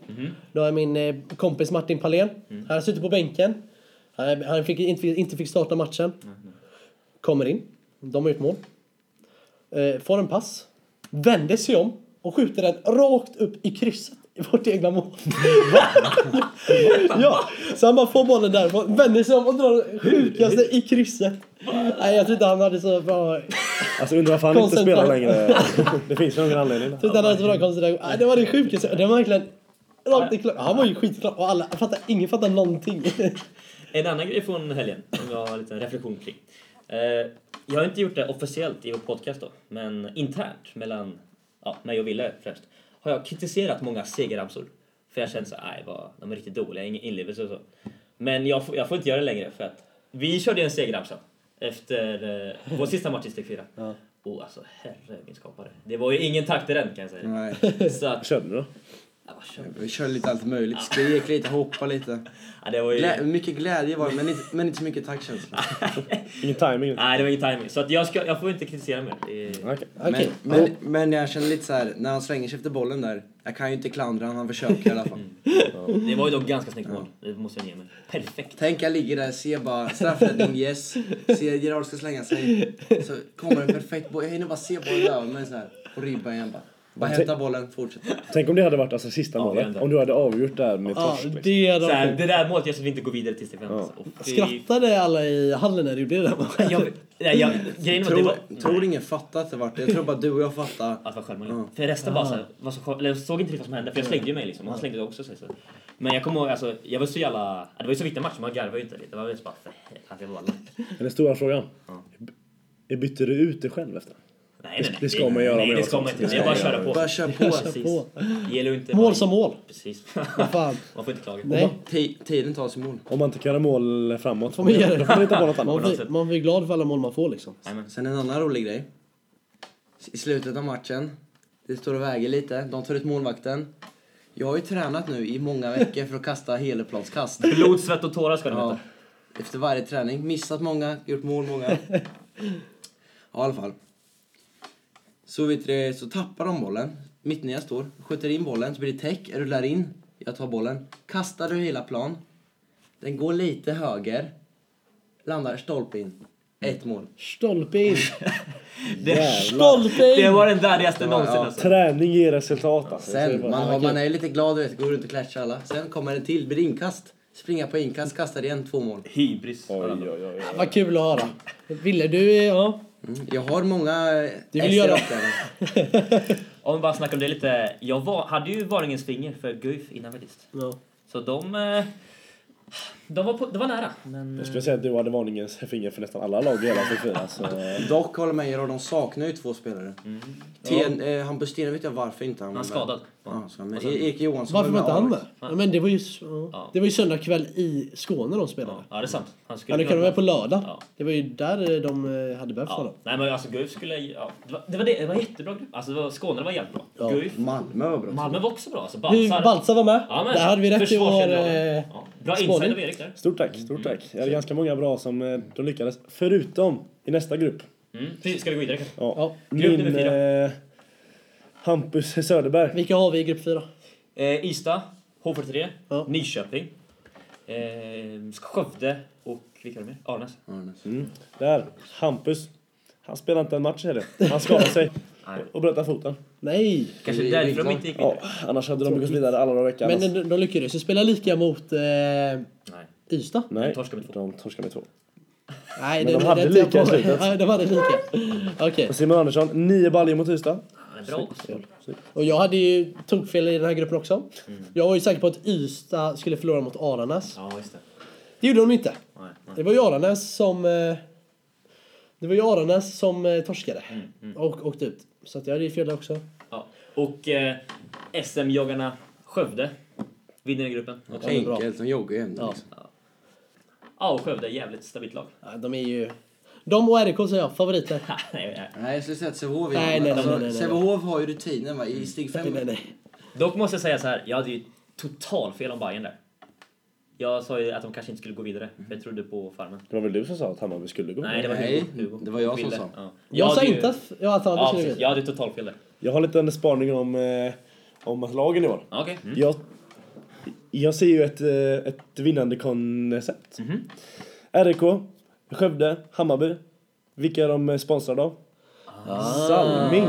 Speaker 2: Då är min eh, kompis Martin Palén. Han sitter på bänken. Han, han fick, inte, inte fick starta matchen. Kommer in. De har gjort mål. Eh, får en pass. Vänder sig om och skjuter den rakt upp i krysset i vårt egna mål. ja, så han bara får bollen därifrån, vänder sig om och drar den sjukaste i krysset. Nej, jag tror inte han hade så bra
Speaker 4: Alltså undrar varför han inte spelar
Speaker 2: Koncentrat.
Speaker 4: längre. det finns ju någon anledning.
Speaker 2: Titta han hade så bra konstnär. Ah, Det var det sjukaste. Det var verkligen... Rakt i klar. Han var ju skitklar och alla, jag fattar, ingen fattar någonting.
Speaker 1: En annan grej från helgen som jag har en liten reflektion kring. Eh, jag har inte gjort det officiellt i vår podcast då, men internt mellan ja, mig och Wille främst har jag kritiserat många segerramsor. För jag känner så här, "Aj, vad, de är riktigt dåliga, ingen inlevelse och så. Men jag får, jag får inte göra det längre för att vi körde en segerramsa efter eh, vår sista match i steg 4. Och alltså herre min skapare. Det var ju ingen takt i den kan jag säga.
Speaker 3: Nej,
Speaker 1: Så att,
Speaker 4: Känner du då?
Speaker 1: ja, vad kör vi?
Speaker 3: vi körde lite allt möjligt. Skrek lite, hoppa lite.
Speaker 1: ja, det var ju...
Speaker 3: Glä mycket glädje var det, men inte, men inte så mycket taktkänsla.
Speaker 1: Ah,
Speaker 4: Ingen timing.
Speaker 1: Nej, det var ingen timing. Så att jag, ska, jag får inte kritisera mer. Det är...
Speaker 4: Okej.
Speaker 2: Okej.
Speaker 3: Men, men, men jag känner lite så här, när han slänger sig efter bollen där, jag kan ju inte klandra honom, han försöker i alla fall.
Speaker 1: Det var ju dock ganska snyggt mål. Det måste jag ge mig. Perfekt.
Speaker 3: Tänk jag ligger där, ser bara straffräddning, yes. Ser Gerard ska slänga sig. Så kommer en perfekt boll. Jag hinner bara se bollen över mig så här. Och ribban igen bara. Bara hämta bollen, fortsätt.
Speaker 4: Tänk om det hade varit alltså, sista
Speaker 1: Ja, det
Speaker 4: målet.
Speaker 1: hade-
Speaker 4: Om du hade avgjort där med
Speaker 2: Ja,
Speaker 4: torsk. Liksom.
Speaker 2: det är
Speaker 1: Så här,
Speaker 2: de.
Speaker 1: det där målet gör så att vi inte går vidare till steg fem. alltså. Och fy-
Speaker 2: Skrattade alla i hallen när du blev där?
Speaker 1: Jag, nej, jag, grejen var att det var... Alltså-
Speaker 3: Tror, tror ingen fattar att det vart det. Jag tror bara du och jag fattar.
Speaker 1: Att vara självmål. För resten bara så här, var så, skö- eller jag såg inte riktigt vad som hände. För jag slängde ju mig liksom. Och han slängde också sig. Så. Men jag kommer ihåg, alltså, jag var så jävla... ja, Det var ju så viktig match, man garvade ju inte. Det var ju så bara, för helvete, jag var lack.
Speaker 4: Men Den stora frågan. Ja. Bytte du ut dig själv efter?
Speaker 1: Nej, nej, nej.
Speaker 4: Det ska man göra
Speaker 1: Nej,
Speaker 4: med
Speaker 1: det
Speaker 4: oss
Speaker 1: ska man
Speaker 4: också.
Speaker 1: inte.
Speaker 4: Det
Speaker 1: Det är bara att
Speaker 4: ska man
Speaker 1: köra på.
Speaker 3: Bara kör på.
Speaker 1: Precis.
Speaker 2: på.
Speaker 1: Ge det inte.
Speaker 2: Mål som mål.
Speaker 1: Precis.
Speaker 2: Fan.
Speaker 1: Man får inte klaga.
Speaker 2: Nej.
Speaker 3: Ti- tiden tas i mål.
Speaker 4: Om man inte kan göra mål framåt. Får
Speaker 2: man göra det.
Speaker 4: Då får man inte på något
Speaker 2: Man
Speaker 4: annat.
Speaker 2: blir, man blir glad för alla mål man får liksom.
Speaker 3: Sen en annan rolig grej. I slutet av matchen. Det står och väger lite. De tar ut målvakten. Jag har ju tränat nu i många veckor för att kasta helplanskast.
Speaker 1: Blod, svett och tårar ska ni
Speaker 3: Ja,
Speaker 1: veta.
Speaker 3: efter varje träning. Missat många, gjort mål många. Ja, i alla fall. Så, vet du, så tappar de bollen. Mitt när jag står, skjuter in bollen, så blir det täck, jag rullar in, jag tar bollen, kastar över hela plan. Den går lite höger, landar stolpe in. Ett mål.
Speaker 2: Stolpe in.
Speaker 1: Det,
Speaker 2: Stolpe
Speaker 1: det
Speaker 2: in.
Speaker 1: var den värdigaste någonsin
Speaker 3: ja.
Speaker 1: alltså.
Speaker 4: Träning ger resultat alltså.
Speaker 3: Sen, man, har,
Speaker 4: Okej.
Speaker 3: man är lite glad, du vet, går runt och klatschar alla. Sen kommer en till, blir inkast. Springa på inkast, kastar igen, två mål.
Speaker 1: Hybris.
Speaker 4: Oj, oj, oj.
Speaker 2: Vad kul att höra. Ville du, eh, ja.
Speaker 3: Mm. Jag har många eh,
Speaker 2: Du
Speaker 3: S
Speaker 2: vill
Speaker 3: i
Speaker 2: göra-
Speaker 3: rockarna.
Speaker 1: Om vi bara snackar om det lite. Jag var, hade ju varningens finger för Guif innan faktiskt.
Speaker 2: ja.
Speaker 1: Så de... eh, De var, på, det var nära. Men,
Speaker 4: Jag skulle säga att du hade varningens finger för nästan alla lag i hela C4. Så...
Speaker 3: Dock håller med er och de saknar ju två spelare. Ten, eh, Hampus Sten vet jag varför inte han
Speaker 1: Mm. Han är skadad.
Speaker 3: Ja, så, men E- Erik Johansson
Speaker 2: Varför var
Speaker 3: med
Speaker 2: inte han
Speaker 3: Aron.
Speaker 2: med? Ja, men det var ju, ja.
Speaker 1: Ja.
Speaker 2: det var ju söndag kväll i Skåne de spelade.
Speaker 1: Ja, det är sant. Han
Speaker 2: Ja, det kunde vara på lördag.
Speaker 1: Ja.
Speaker 2: Det var ju där de eh, hade behövt
Speaker 1: Ja.
Speaker 2: honom.
Speaker 1: Nej men alltså Guif skulle... Ja. Det, var, det var det, det var jättebra grupp. Alltså det var, Skåne var jävligt bra.
Speaker 2: Ja.
Speaker 1: Guif.
Speaker 3: Malmö var bra.
Speaker 1: Malmö var också bra. Alltså
Speaker 2: Hur
Speaker 1: Balsar.
Speaker 2: Balsa var med.
Speaker 1: Ja, men,
Speaker 2: där hade vi rätt i vår...
Speaker 1: försvarsgeneralen.
Speaker 2: eh,
Speaker 1: ja. Bra
Speaker 2: spaning.
Speaker 1: insight av Erik där.
Speaker 4: Stort tack, stort
Speaker 1: Mm-hmm.
Speaker 4: tack. Jag hade ganska många bra som eh, de lyckades. Förutom i nästa grupp.
Speaker 1: Mm. Precis, ska vi gå vidare kanske?
Speaker 4: Ja.
Speaker 2: Ja.
Speaker 1: Grupp
Speaker 4: Min
Speaker 1: nummer fyra.
Speaker 4: eh, Hampus Söderberg.
Speaker 2: Vilka har vi i grupp fyra?
Speaker 1: Eh, Ystad, H43,
Speaker 2: Ja.
Speaker 1: Nyköping, eh, Skövde och vilka var det mer? Arnäs.
Speaker 3: Arnes.
Speaker 4: Mm. Där, Hampus. Han spelar inte en match är det. Han skadade sig
Speaker 1: Nej.
Speaker 4: och bröt foten.
Speaker 2: Nej!
Speaker 1: Kanske
Speaker 3: Det är
Speaker 1: därför de
Speaker 3: klart.
Speaker 1: inte gick
Speaker 4: Ja,
Speaker 1: vidare.
Speaker 4: annars hade de gått vidare alla de veckan.
Speaker 2: Men
Speaker 1: eh,
Speaker 2: de, de lyckades ju spela lika mot eh,
Speaker 1: Nej.
Speaker 2: Ystad.
Speaker 4: Nej,
Speaker 1: de torskade med två.
Speaker 4: de torskade med två.
Speaker 2: Nej,
Speaker 4: Men de
Speaker 2: det-
Speaker 4: hade
Speaker 2: det-
Speaker 4: lika
Speaker 2: det-
Speaker 4: i slutet.
Speaker 2: Ja, de hade lika. Okej.
Speaker 4: Och Simon Andersson, nio baljor mot Ystad.
Speaker 1: Han är bra också.
Speaker 2: Och jag hade ju tokfel i den här gruppen också. Jag var ju säker på att Ystad skulle förlora mot Aranäs.
Speaker 1: Ja, just det.
Speaker 2: Det gjorde de inte.
Speaker 1: Nej, nej.
Speaker 2: Det var ju Aranäs som... eh, Det var ju Aranäs som eh, torskade. Och åkte ut. Så att jag hade ju fel där också.
Speaker 1: Ja. Och eh, SM-joggarna Skövde vinner i gruppen.
Speaker 2: Ja, det är bra.
Speaker 3: Enkelt, de joggar ju ändå.
Speaker 2: Ja.
Speaker 3: Liksom.
Speaker 1: Ja, och Skövde är jävligt stabilt lag.
Speaker 2: Ja, de är ju... De och RIK säger jag, favoriter.
Speaker 1: Nej, nej.
Speaker 3: Nej, jag skulle säga att Sävehof är
Speaker 2: Nej, nej, nej,
Speaker 3: alltså,
Speaker 2: nej, nej, nej.
Speaker 3: Sävehof har ju rutinen va, i steg
Speaker 2: Nej,
Speaker 3: 5.
Speaker 2: nej, nej.
Speaker 1: Dock måste jag säga så här, jag hade ju total fel om Bayern där. Jag sa ju att de kanske inte skulle gå vidare, för jag trodde på Farmen.
Speaker 4: Det var väl du som sa att Hammarby skulle gå?
Speaker 1: Nej, det var
Speaker 3: Nej,
Speaker 1: Hugo. Hugo.
Speaker 3: det var jag som
Speaker 1: Ville.
Speaker 3: sa.
Speaker 1: Ja.
Speaker 2: Jag,
Speaker 1: hade
Speaker 2: sa
Speaker 1: ju-
Speaker 2: Alltså, inte att jag hade
Speaker 1: Ja,
Speaker 2: annat
Speaker 1: precis. Jag hade ju total fel där.
Speaker 4: Jag har en liten spaning om, eh, om lagen i år.
Speaker 1: Ja, Okej. Mm.
Speaker 4: Jag, jag ser ju ett, eh, ett vinnande koncept.
Speaker 2: Mhm.
Speaker 4: RIK, Skövde, Hammarby. Vilka är de eh, sponsrade av?
Speaker 2: Ah.
Speaker 4: Salming.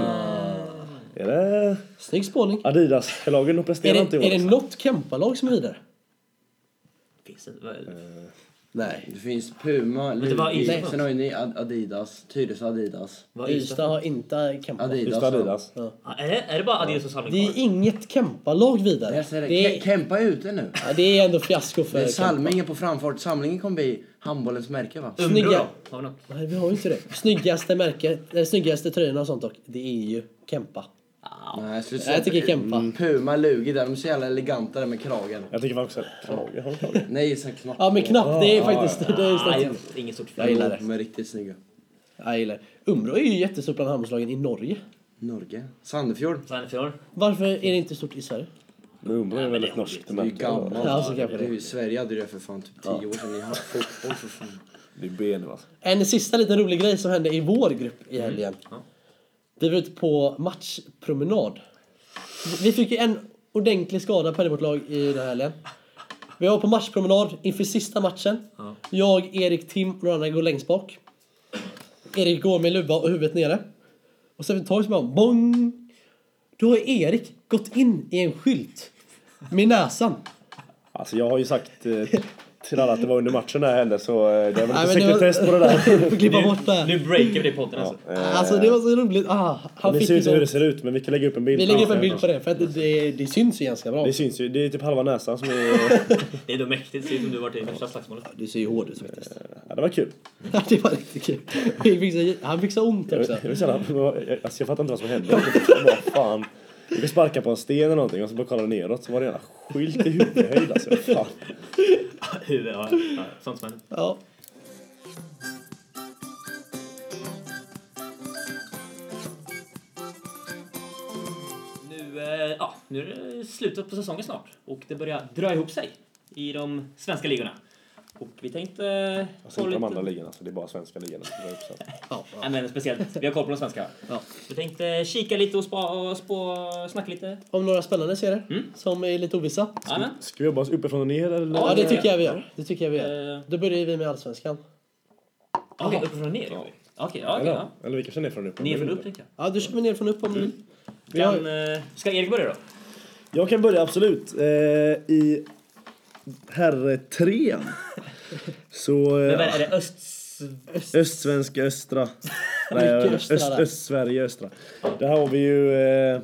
Speaker 4: Är det
Speaker 2: Snygg spåning.
Speaker 4: Adidas-lagen? De
Speaker 2: Är
Speaker 4: presterar inte
Speaker 2: det,
Speaker 4: i år.
Speaker 2: är det något Kempa-lag som är vidare?
Speaker 1: Finns det- vad-
Speaker 2: Nej.
Speaker 3: Det finns Puma,
Speaker 1: det var
Speaker 3: Lugi,
Speaker 1: Ystad.
Speaker 3: sen har ju ni Ad- Adidas, Tyresö Adidas.
Speaker 1: vad är
Speaker 2: Ystad har inte Kempa.
Speaker 3: Adidas.
Speaker 4: Just Adidas.
Speaker 2: Ja.
Speaker 1: Ja, Är det, är det bara Adidas och Salming
Speaker 2: Det är
Speaker 1: kvar?
Speaker 2: inget Kempa-lag vidare.
Speaker 3: Jag säger det, Ke- Kempa är ute nu.
Speaker 2: ja, det är ändå fiasko
Speaker 3: Det är
Speaker 2: för Kempa.
Speaker 3: Salmingen på framfart. Salmingen kommer bli handbollens märke va?
Speaker 1: Umbro
Speaker 2: Snygga.
Speaker 1: då? Har vi något?
Speaker 2: Nej, vi har ju inte det. Snyggaste märket, eller snyggaste tröjorna och sånt dock, det är ju Kempa.
Speaker 3: Nej, jag skulle säga
Speaker 2: Jag tycker Kempa.
Speaker 3: mm, Puma, Lugi där, de är så jävla eleganta där med kragen.
Speaker 4: Jag tycker faktiskt att Krage har Krage.
Speaker 3: Nej, Isak knappt.
Speaker 2: Ja men knappt, det är faktiskt... Det är
Speaker 1: Nej,
Speaker 2: snabbt.
Speaker 1: jag- inget stort
Speaker 2: Jag
Speaker 1: fel.
Speaker 2: gillar det.
Speaker 3: De är riktigt snygga.
Speaker 2: Jag gillar det. Umbro är ju jättestort bland handbollslagen i Norge.
Speaker 3: Norge. Sandefjord.
Speaker 1: Sandefjord?
Speaker 2: Varför är det inte stort i Sverige?
Speaker 4: Men Umbro är väl ett norskt
Speaker 3: Det är ju
Speaker 4: märke?
Speaker 3: gammalt.
Speaker 2: Ja, så kanske
Speaker 3: det är
Speaker 2: det.
Speaker 3: ju, Sverige hade ju det för fan typ tio år sedan. Ni hade fotboll för fan.
Speaker 4: Det är B nu alltså.
Speaker 2: En sista liten rolig grej som hände i vår grupp
Speaker 4: Mm.
Speaker 2: i helgen.
Speaker 1: Ja.
Speaker 2: Vi var ute på matchpromenad. Vi fick ju en ordentlig skada på vårt lag i den här helgen. Vi var på matchpromenad inför sista matchen.
Speaker 1: Ja.
Speaker 2: Jag, Erik, Tim och några andra går längst bak. Erik går med luva och huvudet nere. Och sen vid ett tag så bara bong! Då har Erik gått in i en skylt med näsan.
Speaker 4: Alltså jag har ju sagt eh, till alla att det var under matchen det här hände så eh, det är väl
Speaker 2: Nej,
Speaker 4: inte
Speaker 2: men det var-
Speaker 4: sekretess på det där.
Speaker 2: Får klippa bort det
Speaker 1: Nu,
Speaker 2: här.
Speaker 1: nu breakar vi det i podden alltså.
Speaker 2: Alltså det var så roligt. Ah, han
Speaker 4: Ni
Speaker 2: fick
Speaker 4: ser ju inte hur
Speaker 2: liksom-
Speaker 4: det ser ut men vi kan lägga upp en bild.
Speaker 2: Vi lägger upp en bild på det för att det, det syns ju ganska bra.
Speaker 4: Det syns ju, det är typ halva näsan som är...
Speaker 1: Det är då mäktigt, det ser ut som du varit i första slagsmålet.
Speaker 2: Det ser ju hård ut faktiskt.
Speaker 4: Ja, det var kul.
Speaker 2: Ja, det var riktigt kul. Vi fick så- Han fick så ont
Speaker 4: Jag, vet-
Speaker 2: också.
Speaker 4: jag, vet inte, det var- jag, alltså, jag fattar inte vad som hände. Vad fan. Jag fick sparka på en sten eller någonting och så bara kollade neråt så var det en jävla skylt i huvudhöjd alltså. Fan.
Speaker 1: Huvud, ja, ja, sånt som händer.
Speaker 2: Ja.
Speaker 1: Nu, eh, ja, nu är det slutet på säsongen snart och det börjar dra ihop sig i de svenska ligorna. Och vi tänkte... eh,
Speaker 4: Alltså
Speaker 1: ha
Speaker 4: inte de
Speaker 1: lite-
Speaker 4: andra ligorna, så det är bara svenska ligorna som drar upp sig.
Speaker 2: Ja,
Speaker 1: Nej, men speciellt, vi har koll på de svenska.
Speaker 2: ja.
Speaker 1: Vi tänkte kika lite och, spa, och spå, snacka lite.
Speaker 2: Om några spännande serier
Speaker 1: Mm.
Speaker 2: som är lite ovissa.
Speaker 1: Jajamän.
Speaker 4: Ska vi jobba oss uppifrån och ner eller?
Speaker 2: Ja, det tycker jag vi gör. Det tycker jag vi gör.
Speaker 1: Eh,
Speaker 2: Då börjar vi med Allsvenskan.
Speaker 1: Okej, uppifrån och ner? Okej, ja, okej.
Speaker 4: eller,
Speaker 1: ja.
Speaker 4: eller vi kan köra ner från upp.
Speaker 1: Ner från upp, tänker jag.
Speaker 2: Ja, du kör vi ner från upp om du vi
Speaker 1: Kan,
Speaker 2: har,
Speaker 1: eh, ska Erik börja då?
Speaker 4: Jag kan börja, absolut. Eh, I herre trean så...
Speaker 1: Men
Speaker 4: Eh,
Speaker 1: vad är det öst...
Speaker 4: Östsvenska östra. Nej,
Speaker 2: Mycket
Speaker 4: öst,
Speaker 2: östra där.
Speaker 4: Östsverige östra. Där har vi ju eh,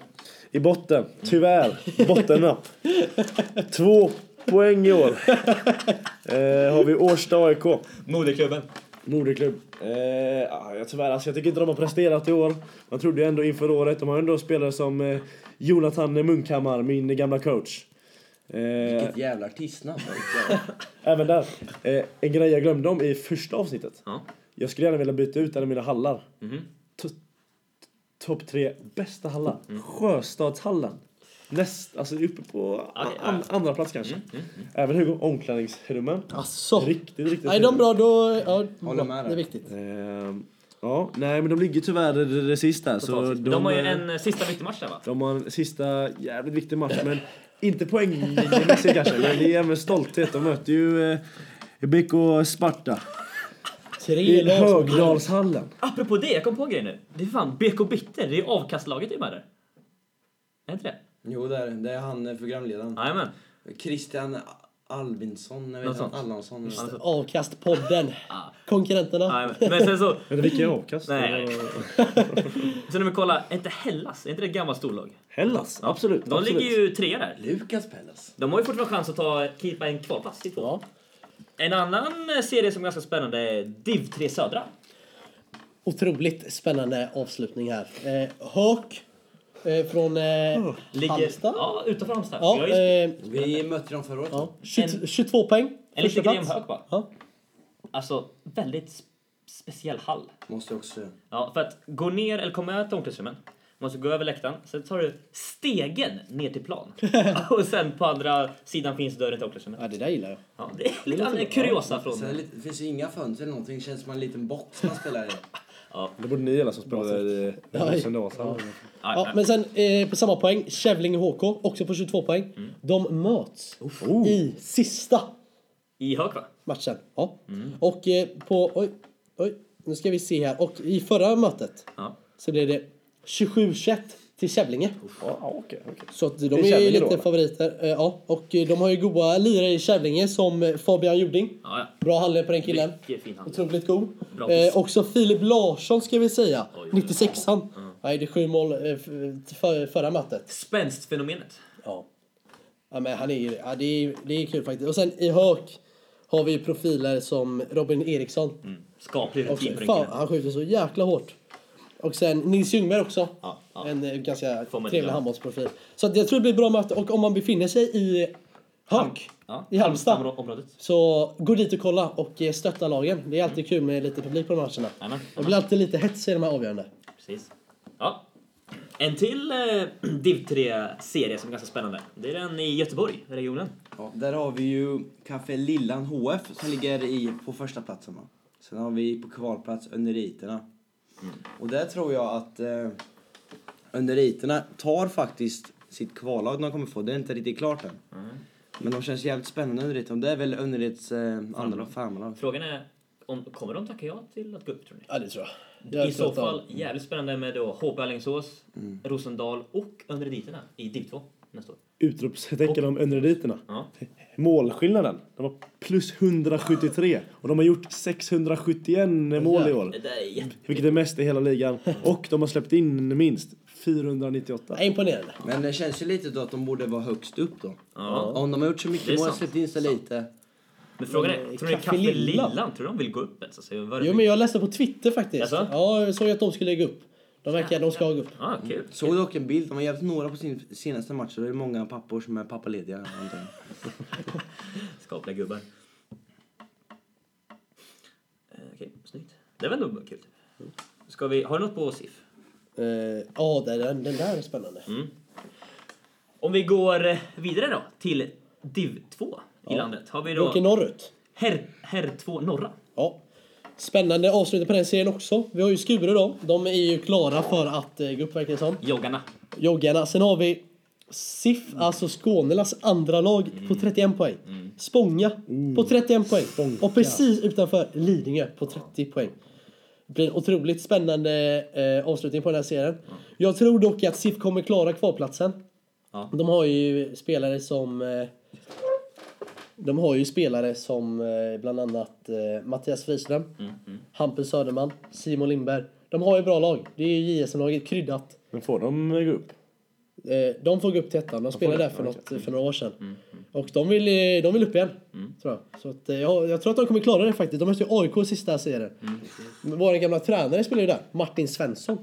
Speaker 4: i botten, tyvärr, bottennapp. Två poäng i år. eh, har vi Årsta AIK,
Speaker 1: Moderklubben.
Speaker 4: moderklubb. Eh, ah, jag, tyvärr, alltså, jag tycker inte de har presterat i år. Man trodde ju ändå inför året, de har ju ändå spelare som eh, Jonathan Munkhammar, min gamla coach. Eh,
Speaker 3: Vilket jävla artistnamn.
Speaker 4: även där. Eh, en grej jag glömde om i första avsnittet.
Speaker 1: Ja.
Speaker 4: Jag skulle gärna vilja byta ut en av mina hallar.
Speaker 1: Mhm.
Speaker 4: T- t- Topp tre bästa hallar.
Speaker 1: Mm.
Speaker 4: Sjöstadshallen. Näst, alltså uppe på
Speaker 1: Ja, ja.
Speaker 4: an, andra plats kanske.
Speaker 1: Mm,
Speaker 4: Även Hugo, omklädningsrummen.
Speaker 2: Alltså.
Speaker 4: Riktigt, riktigt
Speaker 2: Nej, de är
Speaker 4: fina.
Speaker 2: bra. Då, ja,
Speaker 3: Håller med dig.
Speaker 2: Det är viktigt.
Speaker 4: Ehm, ja, nej men de ligger tyvärr det- det det sista. Så
Speaker 1: De,
Speaker 4: de,
Speaker 1: har ju
Speaker 4: eh,
Speaker 1: en eh, sista viktig match där va?
Speaker 4: De har en sista jävligt viktig match, men inte poängmässigt kanske. Men det är med stolthet. De möter ju eh, BK Sparta
Speaker 2: Tre
Speaker 4: i
Speaker 2: lag som-
Speaker 4: Högdalshallen.
Speaker 1: Apropå det, jag kom på en grej nu. Det är fan BK Bitter, det är avkastlaget det är med där. Är inte det?
Speaker 3: jo, det är, det. det är han eh, programledaren.
Speaker 1: Jajamän.
Speaker 3: Christian Albinsson, jag vet
Speaker 1: Något
Speaker 3: inte,
Speaker 1: sånt.
Speaker 3: Allansson. eller något.
Speaker 2: Avkastpodden. Konkurrenterna.
Speaker 1: Alltså, Jajamän. Men sen så...
Speaker 4: Men vilka avkast?
Speaker 1: Nej. Sen när vi kollar, är inte Hellas, är inte det ett gammalt storlag?
Speaker 4: Hellas, absolut.
Speaker 1: De
Speaker 4: absolut.
Speaker 1: ligger ju trea där.
Speaker 3: Lukas Pellas.
Speaker 1: De har ju fortfarande chans att ta, keepa en kvalplats i två. En annan eh, serie som är ganska spännande är Div 3 Södra.
Speaker 2: Otroligt spännande avslutning här. Eh, Hök eh, från eh, Halmstad.
Speaker 1: Ja, utanför Halmstad.
Speaker 2: Ja,
Speaker 1: Jag är-
Speaker 2: eh,
Speaker 3: Vi mötte dem förra året.
Speaker 2: ja. 20, 22 poäng.
Speaker 1: en lite
Speaker 2: Första
Speaker 1: grym
Speaker 2: plats.
Speaker 1: hög bara.
Speaker 2: Ja.
Speaker 1: Alltså, väldigt sp- speciell hall.
Speaker 3: Måste jag också säga.
Speaker 1: Ja, för att gå ner eller komma ut till omklädningsrummen. Man måste gå över läktaren, sen tar du stegen ner till plan. och sen på andra sidan finns dörren till omklädningsrummet.
Speaker 2: ja, det där gillar jag.
Speaker 1: Ja, det är lite annorlunda kuriosa från...
Speaker 3: Sen är det lite- det finns ju inga fönster eller någonting, det känns som en liten box man spelar i.
Speaker 4: Det borde ni alla som spelar i Rosendalshallen.
Speaker 1: Ja,
Speaker 2: Ja, men sen eh, på samma poäng, Kävlinge HK, också på 22 poäng.
Speaker 1: Mm.
Speaker 2: De möts
Speaker 1: Oh.
Speaker 2: i sista
Speaker 1: I Höök va?
Speaker 2: matchen. Ja.
Speaker 1: Mm.
Speaker 2: Och eh, på... Oj, oj, nu ska vi se här. Och i förra mötet
Speaker 1: Ja.
Speaker 2: så blev det 27-21 till Kävlinge.
Speaker 4: Ja, ah, okej. okej.
Speaker 2: Så att de
Speaker 4: är
Speaker 2: är ju
Speaker 4: Kävlinge
Speaker 2: lite
Speaker 4: då, eller?
Speaker 2: favoriter. Eh, ja. Och eh, de har ju goda lirare i Kävlinge som eh, Fabian Jording.
Speaker 1: Ja, ja.
Speaker 2: Bra handled på den killen.
Speaker 1: Vilken fin hand.
Speaker 2: Otroligt god.
Speaker 1: Bra
Speaker 2: Eh,
Speaker 1: fist.
Speaker 2: också Filip Larsson ska vi säga.
Speaker 1: oj, oj.
Speaker 2: 96an. Han gjorde sju mål eh, f- till för, förra mötet.
Speaker 1: Spänstfenomenet.
Speaker 2: Ja. ja men han är ju... Ja, det, är, det är kul faktiskt. Och sen i Hök har vi ju profiler som Robin Eriksson.
Speaker 1: Mm, Skaplig
Speaker 2: Också.
Speaker 1: rutin på den
Speaker 2: Fan,
Speaker 1: killen.
Speaker 2: han skjuter så jäkla hårt. Och sen Nils Ljungberg också.
Speaker 1: Ja, ja.
Speaker 2: En eh, ganska
Speaker 1: Får man
Speaker 2: trevlig
Speaker 1: göra.
Speaker 2: handbollsprofil. Så att jag tror det blir ett bra möte. Och om man befinner sig i Hök,
Speaker 1: Ja.
Speaker 2: i Halmstad,
Speaker 1: Halmstadområdet.
Speaker 2: så gå dit och kolla och eh, stötta lagen. Det är alltid kul med lite publik på de matcherna.
Speaker 1: Jajamän,
Speaker 2: Det blir alltid lite hets i de här avgörande.
Speaker 1: Precis. Ja. En till eh, div 3-serie som är ganska spännande. Det är den i Göteborg, regionen.
Speaker 3: Ja, där har vi ju Café Lillan HF som ligger i, på första platsen va? Sen har vi på kvalplats Underiterna.
Speaker 1: Mm.
Speaker 3: Och där tror jag att eh, Underiterna tar faktiskt sitt kvallag de kommer få. Det är inte riktigt klart än.
Speaker 1: Mm.
Speaker 3: Men de känns jävligt spännande Underiterna. Det är väl Underits eh, andra farmarlag.
Speaker 1: Frågan är, om, kommer de tacka ja till att gå upp tror ni?
Speaker 2: Ja, det tror jag. jag
Speaker 1: I
Speaker 2: tror
Speaker 1: så
Speaker 2: att de- Mm.
Speaker 1: fall jävligt spännande med då HB Alingsås, Rosendal och Önrediterna i div 2 nästa år.
Speaker 4: Utropstecken om underditerna.
Speaker 1: Ja.
Speaker 4: Målskillnaden. De var plus 173 och de har gjort 671 mål i år.
Speaker 1: Det där är
Speaker 2: Mm.
Speaker 1: jätte...
Speaker 4: Vilket är mest i hela ligan. Och de har släppt in minst 498.
Speaker 2: Ja, Imponerande.
Speaker 3: Men det känns ju lite då att de borde vara högst upp då.
Speaker 1: Ja.
Speaker 3: Om de har gjort så
Speaker 1: Det är
Speaker 3: mycket mål
Speaker 1: sant.
Speaker 3: släppt in så lite.
Speaker 1: Men frågan
Speaker 2: Eh,
Speaker 1: är, tror ni
Speaker 2: Kaffe
Speaker 1: Kaffe
Speaker 2: Lillan?
Speaker 1: Lillan, tror de vill gå upp ens? Alltså, vad är det
Speaker 2: Jo,
Speaker 1: för-
Speaker 2: men jag läste på Twitter faktiskt.
Speaker 1: Jaså?
Speaker 2: Ja, jag såg att de skulle lägga upp. De verkar, de ska gå upp.
Speaker 1: Ja, Ah, kul.
Speaker 3: Såg dock en bild, de har hjälpt några på sin senaste match så det är många pappor som är pappalediga. antagligen.
Speaker 1: Skapliga gubbar. Eh, Okej, snyggt. Det var ändå kul. Ska vi, har du något på SIF?
Speaker 2: Eh, Ja, den, den där är spännande.
Speaker 1: Mm. Om vi går eh, vidare då till div 2 i landet. Har vi
Speaker 2: Vi åker
Speaker 1: då
Speaker 2: norrut.
Speaker 1: herr, herr 2 norra.
Speaker 2: Ja. Spännande avslut på den serien också. Vi har ju Skure då. De är ju klara för att eh, gå upp verkar det som.
Speaker 1: Joggarna.
Speaker 2: Joggarna. Sen har vi SIF, alltså Skånelas andra lag, på 31 poäng. Spånga på 31 poäng. Och precis utanför Lidingö på 30 poäng. Det blir en otroligt spännande eh, avslutning på den här serien. Jag tror dock att SIF kommer klara kvalplatsen.
Speaker 1: Ja.
Speaker 2: De har ju spelare som... Eh, de har ju spelare som eh, bland annat eh, Mattias Friström, Hampus Söderman, Simon Lindberg. De har ju bra lag. Det är ju JSM-laget kryddat.
Speaker 4: Men får de gå upp?
Speaker 1: Mm,
Speaker 2: Eh, De får gå upp till ettan. De spelade där för, något, för några år sedan. Och de vill, eh, de vill upp igen. Tror jag. Så att, eh, jag, jag tror att de kommer klara det faktiskt. De mötte ju AIK i sista serien. Mm. Vår gamla tränare spelar ju där. Martin Svensson.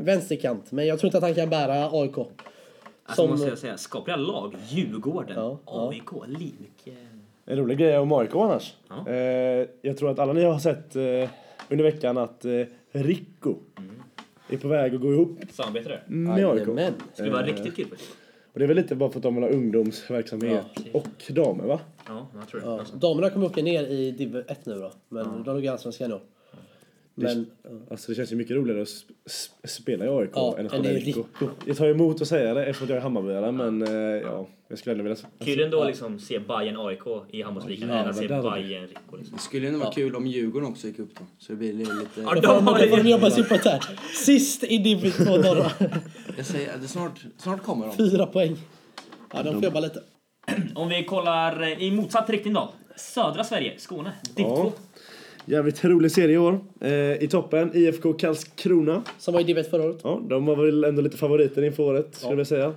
Speaker 2: Vänsterkant. Men jag tror inte att han kan bära AIK.
Speaker 1: Alltså
Speaker 2: Som-
Speaker 1: måste jag säga, skapliga lag. Djurgården,
Speaker 2: Ja, ja.
Speaker 1: AIK, Linke.
Speaker 4: En rolig grej om AIK annars.
Speaker 1: Ja.
Speaker 4: Eh, jag tror att alla ni har sett eh, under veckan att eh, Rico
Speaker 1: Mm.
Speaker 4: är på väg att gå ihop
Speaker 1: Samarbetare.
Speaker 4: med AIK.
Speaker 2: Jajamän.
Speaker 1: Det skulle vara riktigt kul faktiskt.
Speaker 4: Och det är väl lite bara för att de vill ha ungdomsverksamhet och damer va?
Speaker 1: Ja, jag tror det. Alltså,
Speaker 2: Ja. Alltså, Damerna kommer åka ner i div 1 nu då. Men de låg i Allsvenskan i år. Men
Speaker 4: Alltså det känns ju mycket roligare att sp- sp- spela i AIK
Speaker 2: Ja,
Speaker 4: än att
Speaker 2: än
Speaker 4: spela i
Speaker 2: i
Speaker 4: Rico.
Speaker 2: Rico.
Speaker 4: Jag tar emot att säga det eftersom jag är Hammarbyare men eh, ja, jag skulle ändå vilja...
Speaker 1: Kul ändå att liksom se Bayern AIK i handbollsligan än att se
Speaker 4: där har vi-
Speaker 1: Bayern Rico. Liksom.
Speaker 3: Det skulle ju ändå vara kul om Djurgården också gick upp då. Så det blir
Speaker 1: Ja,
Speaker 3: lite...
Speaker 2: då
Speaker 1: de
Speaker 2: får
Speaker 1: har
Speaker 2: de- då får de
Speaker 1: det.
Speaker 2: jobba sig uppåt här. Sist i div 2 norra.
Speaker 3: Jag säger att det snart, snart kommer de.
Speaker 2: Fyra poäng. Ja, de får jobba lite.
Speaker 1: Om vi kollar eh, i motsatt riktning då. Södra Sverige, Skåne. Ditt
Speaker 4: Ja.
Speaker 1: ja.
Speaker 4: Alltså, Jävligt rolig serie i år. Eh, I toppen IFK Karlskrona.
Speaker 2: Som var i div 1 förra året.
Speaker 4: Ja, de var väl ändå lite favoriter inför året, skulle jag säga.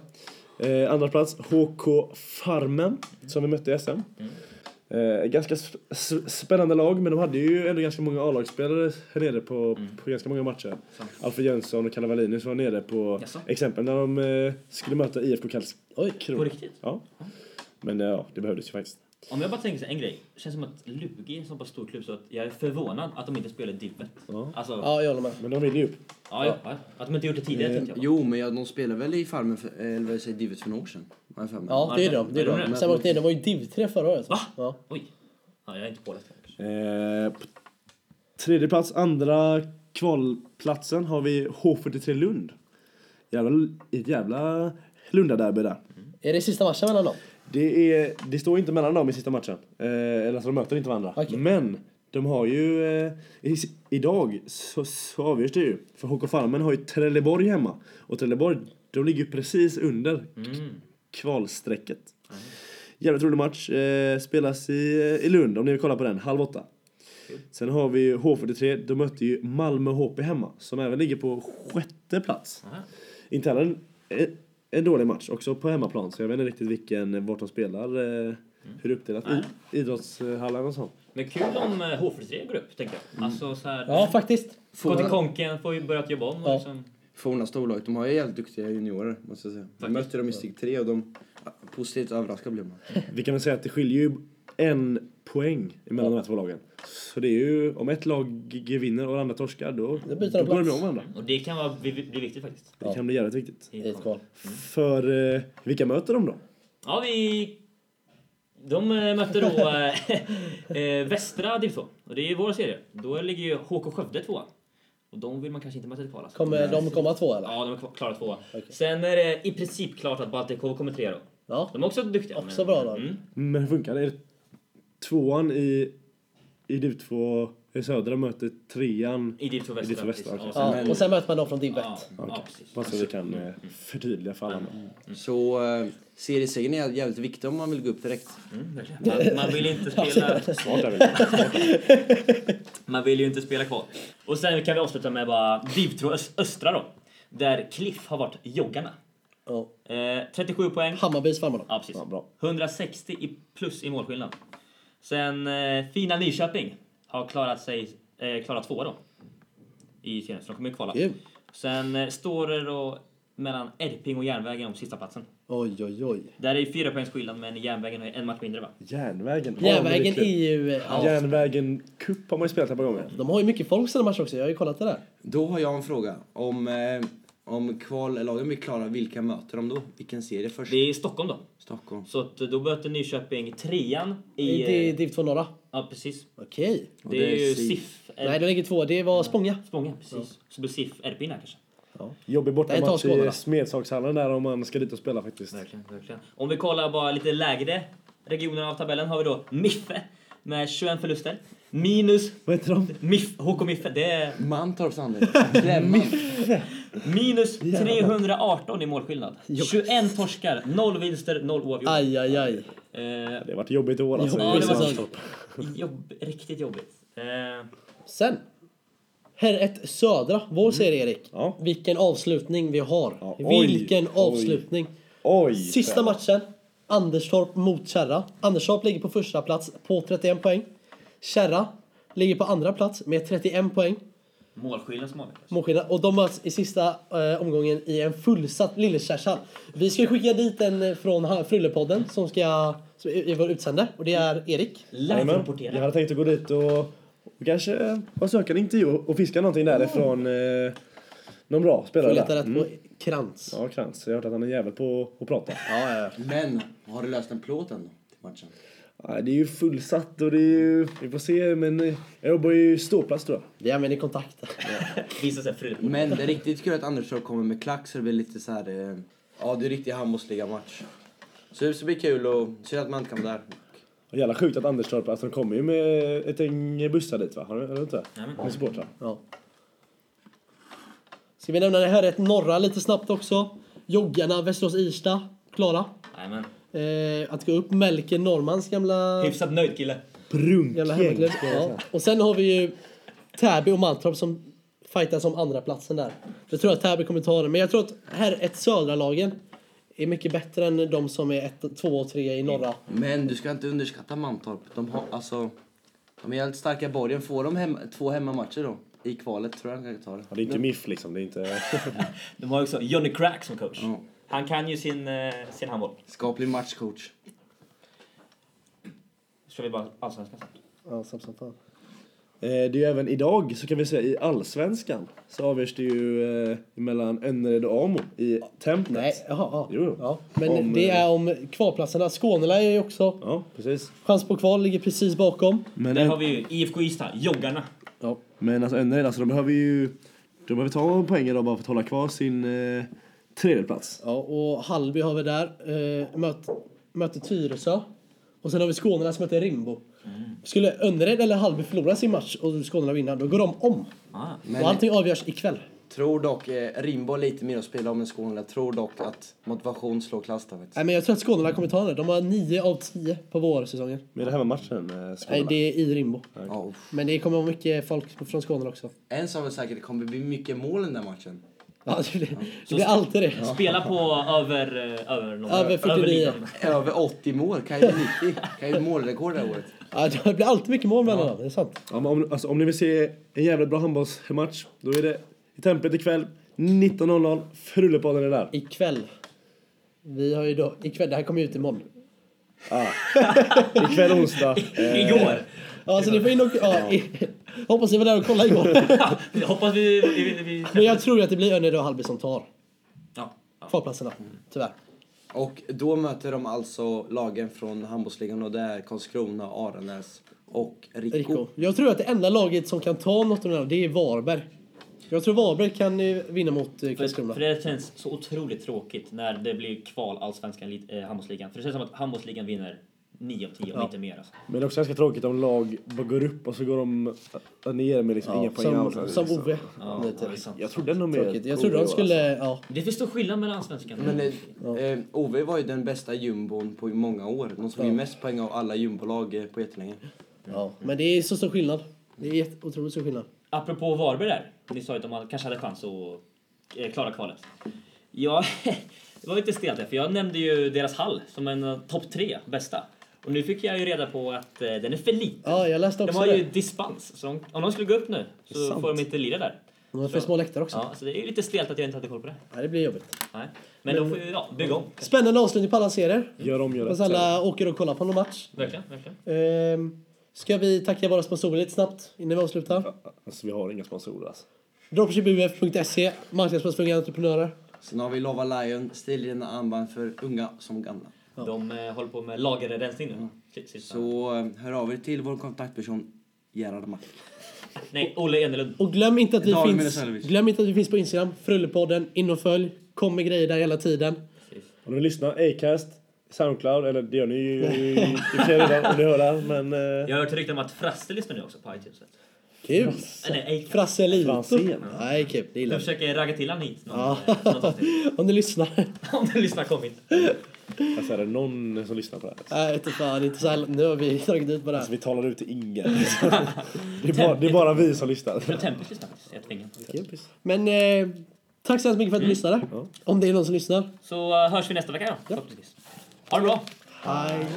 Speaker 4: Eh, andra plats, HK Farmen, som vi mötte i SM.
Speaker 1: Mm.
Speaker 4: Eh, ganska sp- s- spännande lag, men de hade ju ändå ganska många A-lagsspelare här nere på,
Speaker 1: Mm.
Speaker 4: på ganska många matcher. Alfred Jönsson och Kalle Wallinius var nere på
Speaker 1: Jaså?
Speaker 4: exempel när de eh, skulle möta IFK
Speaker 2: Oj,
Speaker 4: Karlskrona.
Speaker 1: På riktigt?
Speaker 4: Ja. Men eh, ja, det behövdes ju faktiskt.
Speaker 1: Om jag bara tänker så här, en grej. Det känns som att Lugi är en så pass stor klubb så att jag är förvånad att de inte spelar Div 1.
Speaker 4: Ja.
Speaker 1: Alltså, ja.
Speaker 2: Ja, jag håller med.
Speaker 4: Men de vill ju upp.
Speaker 1: Ja, ja. Att de inte gjort det tidigare tänkte jag.
Speaker 3: Eh, Jo, men ja, de spelade väl i Farmen, för, eller vad säger Divet för några år sedan? Har jag för mig.
Speaker 2: Ja, det är de. Det är
Speaker 1: Är de
Speaker 2: de.
Speaker 1: det?
Speaker 2: Sen åkte ner. De var ju div 3 förra året.
Speaker 1: Va?
Speaker 2: Ja.
Speaker 1: Oj. Ja, jag är inte påläst.
Speaker 4: Eh, på tredje plats, andra kvalplatsen har vi H43 Lund. Jävla, ett jävla Lundaderby där.
Speaker 2: Är det sista matchen mellan dem?
Speaker 4: Det, är, det står inte mellan dem i sista matchen. Eh, eller alltså de möter inte varandra.
Speaker 2: Okej.
Speaker 4: Men de har ju... Eh, i, idag så, så avgörs det ju. För HK Farmen har ju Trelleborg hemma. Och Trelleborg, de ligger ju precis under
Speaker 1: Mm.
Speaker 4: kvalstrecket. Jävligt rolig match. Eh, spelas i, i Lund om ni vill kolla på den. Halv åtta. Sen har vi H43. De mötte ju Malmö HP hemma som även ligger på sjätte plats.
Speaker 1: Aha.
Speaker 4: Inte heller en, en- en dålig match också på hemmaplan så jag vet inte riktigt vilken, vart de spelar. Eh, hur det är uppdelat. I, idrottshallen och sånt.
Speaker 1: Men kul om eh, H43 går upp, tänker jag. Alltså så här...
Speaker 2: Mm. Ja, faktiskt.
Speaker 1: Gå till
Speaker 3: Forna,
Speaker 1: konken, får ju börjat jobba om och
Speaker 2: Ja.
Speaker 1: liksom...
Speaker 3: forna storlaget, de har ju jävligt duktiga juniorer måste jag säga. Vi mötte dem i steg tre och de... ja, Positivt överraskade blev man.
Speaker 4: Vi kan väl säga att det skiljer ju en poäng mellan de här två lagen. Så det är ju, om ett lag g- vinner och det andra torskar då,
Speaker 2: Då
Speaker 4: då
Speaker 2: byter de
Speaker 4: går de
Speaker 2: plats.
Speaker 4: om varandra.
Speaker 1: Och det kan vara, bli, bli viktigt faktiskt.
Speaker 4: Det kan bli jävligt viktigt.
Speaker 2: I ett kval.
Speaker 4: För eh, vilka möter de då?
Speaker 1: Ja, vi... De eh, mötte då eh, eh, Västra div 2. Och det är ju vår serie. Då ligger ju HK Skövde tvåa. Och de vill man kanske inte möta i ett kval alltså.
Speaker 2: Kommer de komma två eller?
Speaker 1: Ja, de är kvar- klara tvåa. Sen är det i princip klart att Baltikov kommer trea då.
Speaker 2: Ja.
Speaker 1: De är också duktiga.
Speaker 2: Också bra lag.
Speaker 1: Mm.
Speaker 4: Men hur funkar det? Är det Tvåan i, i div 2 i södra möter trean.
Speaker 1: I div 2
Speaker 4: I div
Speaker 1: Västra.
Speaker 4: två västra,
Speaker 1: precis.
Speaker 4: okej.
Speaker 1: sen-
Speaker 2: Ja, och sen möter man dem från div 1.
Speaker 1: ja, ja, precis.
Speaker 4: Bara så vi kan eh, förtydliga för alla.
Speaker 3: Så eh, seriesegern är jävligt viktig om man vill gå upp direkt.
Speaker 1: Mm, verkligen. man, man vill inte spela...
Speaker 4: Smart är vi.
Speaker 1: Man vill ju inte spela kvar. Och sen kan vi avsluta med bara div 2 Ös- Östra då. Där Cliff har varit joggarna.
Speaker 2: Ja.
Speaker 1: Eh, 37 poäng.
Speaker 2: Hammarbys farmar då.
Speaker 1: Ja, precis.
Speaker 4: Ja, bra.
Speaker 1: 160 i plus i målskillnad. Sen eh, fina Nyköping har klarat sig, eh, klarat tvåa då. I serien, så de kommer ju kvala.
Speaker 2: Kul.
Speaker 1: Sen eh, står det då mellan Erping och Järnvägen om sista platsen.
Speaker 2: Oj, oj, oj.
Speaker 1: Där är ju fyra poängs skillnad men Järnvägen har ju en match mindre va?
Speaker 4: Järnvägen. Ja, men det
Speaker 2: Järnvägen
Speaker 4: kul.
Speaker 2: är ju... Ja.
Speaker 4: Järnvägen Cup har man ju spelat ett par gånger.
Speaker 2: De har ju mycket folk sina matcher också. Jag har ju kollat det där.
Speaker 3: Då har jag en fråga. Om, eh, om kvallagen blir klara, vilka möter de då? Vilken serie först?
Speaker 1: Det är i Stockholm då.
Speaker 3: Stockholm.
Speaker 1: Så att då möter Nyköping trean i...
Speaker 2: I di-
Speaker 1: eh,
Speaker 2: div 2 norra.
Speaker 1: Ja precis.
Speaker 2: Okej.
Speaker 1: Det,
Speaker 3: Och det
Speaker 1: är
Speaker 3: är
Speaker 1: ju
Speaker 3: SIF.
Speaker 1: SIF. eh,
Speaker 2: Nej, de ligger två. Det var Spånga.
Speaker 1: Spånga, precis. Så blir SIF Erping där kanske.
Speaker 4: Jobbig
Speaker 2: Nej, ta
Speaker 4: bortamatch i
Speaker 2: Skåne.
Speaker 4: Smedsakshallen där om man ska dit och spela faktiskt.
Speaker 1: Verkligen, verkligen. Om vi kollar bara lite lägre regioner av tabellen har vi då Miffe med 21 förluster. Minus
Speaker 4: Vad heter de?
Speaker 1: Mif, HK Miffe, det är
Speaker 3: Mantorps anledning. Klämman.
Speaker 1: minus 318 i målskillnad. 21 torskar, 0 vinster, 0 oavgjort.
Speaker 2: Aj, aj, aj.
Speaker 1: Eh,
Speaker 4: Det har varit jobbigt i år alltså.
Speaker 1: ja, det
Speaker 2: precis.
Speaker 1: var jobb, riktigt jobbigt. Eh,
Speaker 2: Sen. Här ett Södra, vår serie Erik.
Speaker 4: Mm. Ja.
Speaker 2: Vilken avslutning vi har.
Speaker 4: Ja, oj,
Speaker 2: Vilken
Speaker 4: oj.
Speaker 2: avslutning.
Speaker 4: Oj!
Speaker 2: Sista
Speaker 4: Fred.
Speaker 2: matchen. Anderstorp mot Kärra. Anderstorp ligger på första plats på 31 poäng. Kärra ligger på andra plats med 31 poäng.
Speaker 1: Målskillnad som avgör.
Speaker 2: Målskillnad. Och de möts i sista eh, omgången i en fullsatt Lillekärrshall. Vi ska skicka dit en eh, från Ha- Frullepodden som ska som i, i vår utsände och det är Erik.
Speaker 4: Jajamän. Jag
Speaker 1: Live-rapportera.
Speaker 4: hade tänkt att gå dit och, och kanske eh, bara söka en intervju och fiska någonting därifrån. Eh, någon bra
Speaker 2: Får
Speaker 4: spelare
Speaker 2: leta
Speaker 4: där. Mm.
Speaker 2: rätt på Krantz.
Speaker 4: Ja, Krantz. Jag har hört att han är jävel på att prata.
Speaker 2: Ja, ja,
Speaker 3: Men, har du löst en plåt än då? Till matchen?
Speaker 4: Ja, det är ju fullsatt och det är ju... Vi får se, men eh, jag jobbar ju ståplats tror jag.
Speaker 2: Vi använder kontakter.
Speaker 1: Visa sig Frulleporten.
Speaker 3: Men det är riktigt kul att Anderstorp kommer med klack så det blir lite så här... Eh, ja, det är riktig handbollsliga-match. Så det ska bli kul och synd att man inte kan vara där.
Speaker 4: Och jävla sjukt att Anderstorp, alltså de kommer ju med ett gäng bussar dit va? Har du, har du inte?
Speaker 1: Jajamän.
Speaker 4: Med supportrar.
Speaker 2: Ja. Ska vi nämna det här ett norra lite snabbt också. Joggarna, Västerås Irsta, klara.
Speaker 1: Jajamän.
Speaker 2: Eh, att gå upp Melker Normans gamla,
Speaker 1: Hyfsat nöjd kille.
Speaker 2: gamla
Speaker 4: Prunkgäng.
Speaker 2: hemmaklubb. Ja. Och sen har vi ju Täby och Mantorp som fightas om andra platsen där. Jag tror att Täby kommer ta den, men jag tror att här ett södra lagen är mycket bättre än de som är ett, två och tre i norra.
Speaker 3: Men du ska inte underskatta Mantorp. De har, alltså... De är jävligt starka i borgen. Får de hem, två hemmamatcher då? I kvalet tror jag de kan ta det.
Speaker 4: Ja, det är inte MIF liksom, det är inte...
Speaker 1: De har också Johnny Crack som coach.
Speaker 3: Ja.
Speaker 1: Han kan ju sin, eh, sin handboll.
Speaker 3: Skaplig matchcoach.
Speaker 1: Kör vi bara allsvenskan sen.
Speaker 2: Ja, som, som fan.
Speaker 4: Eh, Det är ju även idag, så kan vi säga i Allsvenskan, så avgörs det ju eh, mellan Önnered och Amo i Templet.
Speaker 2: Nej, jaha, ja.
Speaker 4: Jo, jo.
Speaker 2: Ja. Men
Speaker 4: Om,
Speaker 2: det
Speaker 4: eh,
Speaker 2: är om kvalplatserna. Skånela är ju också
Speaker 4: Ja, precis.
Speaker 2: chans på kval, ligger precis bakom.
Speaker 4: Men,
Speaker 1: Där har vi ju IFK Ystad, joggarna.
Speaker 2: Ja.
Speaker 4: men alltså Önnered, alltså, de behöver ju de behöver ta poäng idag bara för att hålla kvar sin eh, tredjeplats.
Speaker 2: Ja, och Hallby har vi där. Eh, möt, möter Tyresö. Och sen har vi Skånerna som möter Rimbo. Skulle Önnered eller Hallby förlora sin match och Skånerna vinna, då går de om.
Speaker 1: Ah.
Speaker 3: Men-
Speaker 2: och allting avgörs ikväll.
Speaker 3: Tror dock, eh, Rimbo är lite mer att spela om än Skåne. Jag tror dock att motivation slår klass där vet du.
Speaker 2: Nej, men jag tror att Skånerna kommer ta det. De har 9 av 10 på vårsäsongen.
Speaker 4: Med det här med matchen, eh,
Speaker 2: Nej,
Speaker 4: Skåne.
Speaker 2: det är i Rimbo.
Speaker 3: Ja, uff.
Speaker 2: Men det kommer vara mycket folk från Skåne också.
Speaker 3: En sak är säker, det kommer bli mycket mål i den där matchen.
Speaker 2: Ja, det blir, det blir alltid det.
Speaker 1: Spela på över... eh, Över, någon,
Speaker 2: Över 49.
Speaker 1: ligan.
Speaker 3: Över 80 mål, kan ju bli 90. Kan ju bli målrekord det här året.
Speaker 2: Ja, det blir alltid mycket mål mellan dem. Det är sant.
Speaker 4: Ja, men om, alltså, om ni vill se en jävligt bra handbollsmatch, då är det i Templet ikväll 19.00. Frullepaden är där.
Speaker 2: Ikväll. Vi har ju då, ikväll, det här kommer ju ut imorgon.
Speaker 4: Ikväll onsdag.
Speaker 1: Igår!
Speaker 2: Ja, så ni får in och... Ja, i, hoppas ni var där och kollade igår.
Speaker 1: Jag Hoppas vi... vi, vi, vi
Speaker 2: Men jag tror ju att det blir Önnered och Hallby som tar
Speaker 1: ja. ja.
Speaker 2: kvalplatserna, tyvärr.
Speaker 3: Och då möter de alltså lagen från handbollsligan och det är Karlskrona, Aranäs och Rico.
Speaker 2: Rico. Jag tror att det enda laget som kan ta något av de här, det är Varberg. Jag tror Varberg kan eh, vinna mot eh,
Speaker 1: För,
Speaker 2: Karlskrona.
Speaker 1: för det känns så otroligt tråkigt när det blir kval allsvenskan, lit- eh, handbollsligan. För det känns som att handbollsligan vinner 9 av 10 om inte mer. Alltså.
Speaker 4: Men det är också ganska tråkigt om lag bara går upp och så går de ner med liksom inga poäng
Speaker 2: Som,
Speaker 4: alls.
Speaker 2: som Ove.
Speaker 1: Ja,
Speaker 2: lite.
Speaker 1: det är Alltså. sant.
Speaker 4: Jag trodde ändå mer...
Speaker 2: Tråkigt. Jag trodde de skulle... Ja.
Speaker 1: Det finns stor skillnad mellan allsvenskan.
Speaker 3: Men eh, eh, Ove var ju den bästa jumbon på många år. De som
Speaker 2: Ja.
Speaker 3: ju mest poäng av alla jumbolag eh, på jättelänge.
Speaker 2: ja. Men det är så stor skillnad. Det är jätte- otroligt stor skillnad.
Speaker 1: Apropå Varberg där. Ni sa ju att de hade- kanske hade chans att eh, klara kvalet. Ja, det var lite stelt där, för jag nämnde ju deras hall som en av topp tre bästa. Och nu fick jag ju reda på att eh, den är för liten.
Speaker 2: Ja, jag läste
Speaker 1: de
Speaker 2: också
Speaker 1: har
Speaker 2: det.
Speaker 1: ju dispens, så om, om de skulle gå upp nu
Speaker 4: Det är
Speaker 1: så
Speaker 4: sant.
Speaker 1: får de inte lira där.
Speaker 2: De har för
Speaker 1: Så-
Speaker 2: små läktare också.
Speaker 1: Ja, så det är ju lite stelt att jag inte hade koll på det.
Speaker 2: Ja, det blir jobbigt.
Speaker 1: Nej. Men, då får vi ja, bygga om.
Speaker 2: Spännande avslutning på alla serier.
Speaker 4: Gör om, gör rätt.
Speaker 2: Fast alla åker och kollar på någon match.
Speaker 1: Verkligen, verkligen.
Speaker 2: Ehm, ska vi tacka våra sponsorer lite snabbt innan vi avslutar?
Speaker 4: Alltså vi har inga sponsorer alltså.
Speaker 2: Dropshipuf.se, marknadsplats för unga E, entreprenörer.
Speaker 3: Sen har vi Lova Lion, stilrena armband för unga som gamla.
Speaker 1: De eh, håller på med lagerrensning nu. Shit, sista.
Speaker 3: Så eh, hör av er till vår kontaktperson Gerhard Mack.
Speaker 1: Nej, Olle Enelund.
Speaker 2: Och glöm inte att vi,
Speaker 3: Dagen med
Speaker 2: finns,
Speaker 3: reservvis.
Speaker 2: glöm inte att vi finns på Instagram, Frullepodden, in och följ. Kom med grejer där hela tiden.
Speaker 4: Om ni lyssnar, Acast, Soundcloud, eller det gör ni ju i och redan om ni hör det här, men... Eh,
Speaker 1: Jag har hört rykten om att Frasse lyssnar nu också på iTunes. vet du.
Speaker 2: Kul!
Speaker 1: Eller ej.
Speaker 2: Frasse Lito.
Speaker 4: Franzén.
Speaker 2: Nej, kul. Det
Speaker 1: Jag
Speaker 2: gillar vi.
Speaker 1: försöker ragga till han hit. Någon,
Speaker 2: Ja.
Speaker 1: eh, något avsnitt.
Speaker 2: Om ni lyssnar.
Speaker 1: Om du lyssnar, kom hit.
Speaker 4: alltså är det någon som lyssnar på det här? Alltså,
Speaker 2: Nej, inte fan. Inte så här. Nu har vi dragit ut på det här.
Speaker 4: vi talar ut till ingen. det, är bara, det är bara vi som lyssnar.
Speaker 1: Men Tempus lyssnar faktiskt. Jag tvingar.
Speaker 2: Men eh, Mm. tack så hemskt mycket för att ni lyssnade. Om det är någon som lyssnar.
Speaker 1: Så eh, hörs vi nästa vecka då. förhoppningsvis. Ha det bra.
Speaker 2: Hej.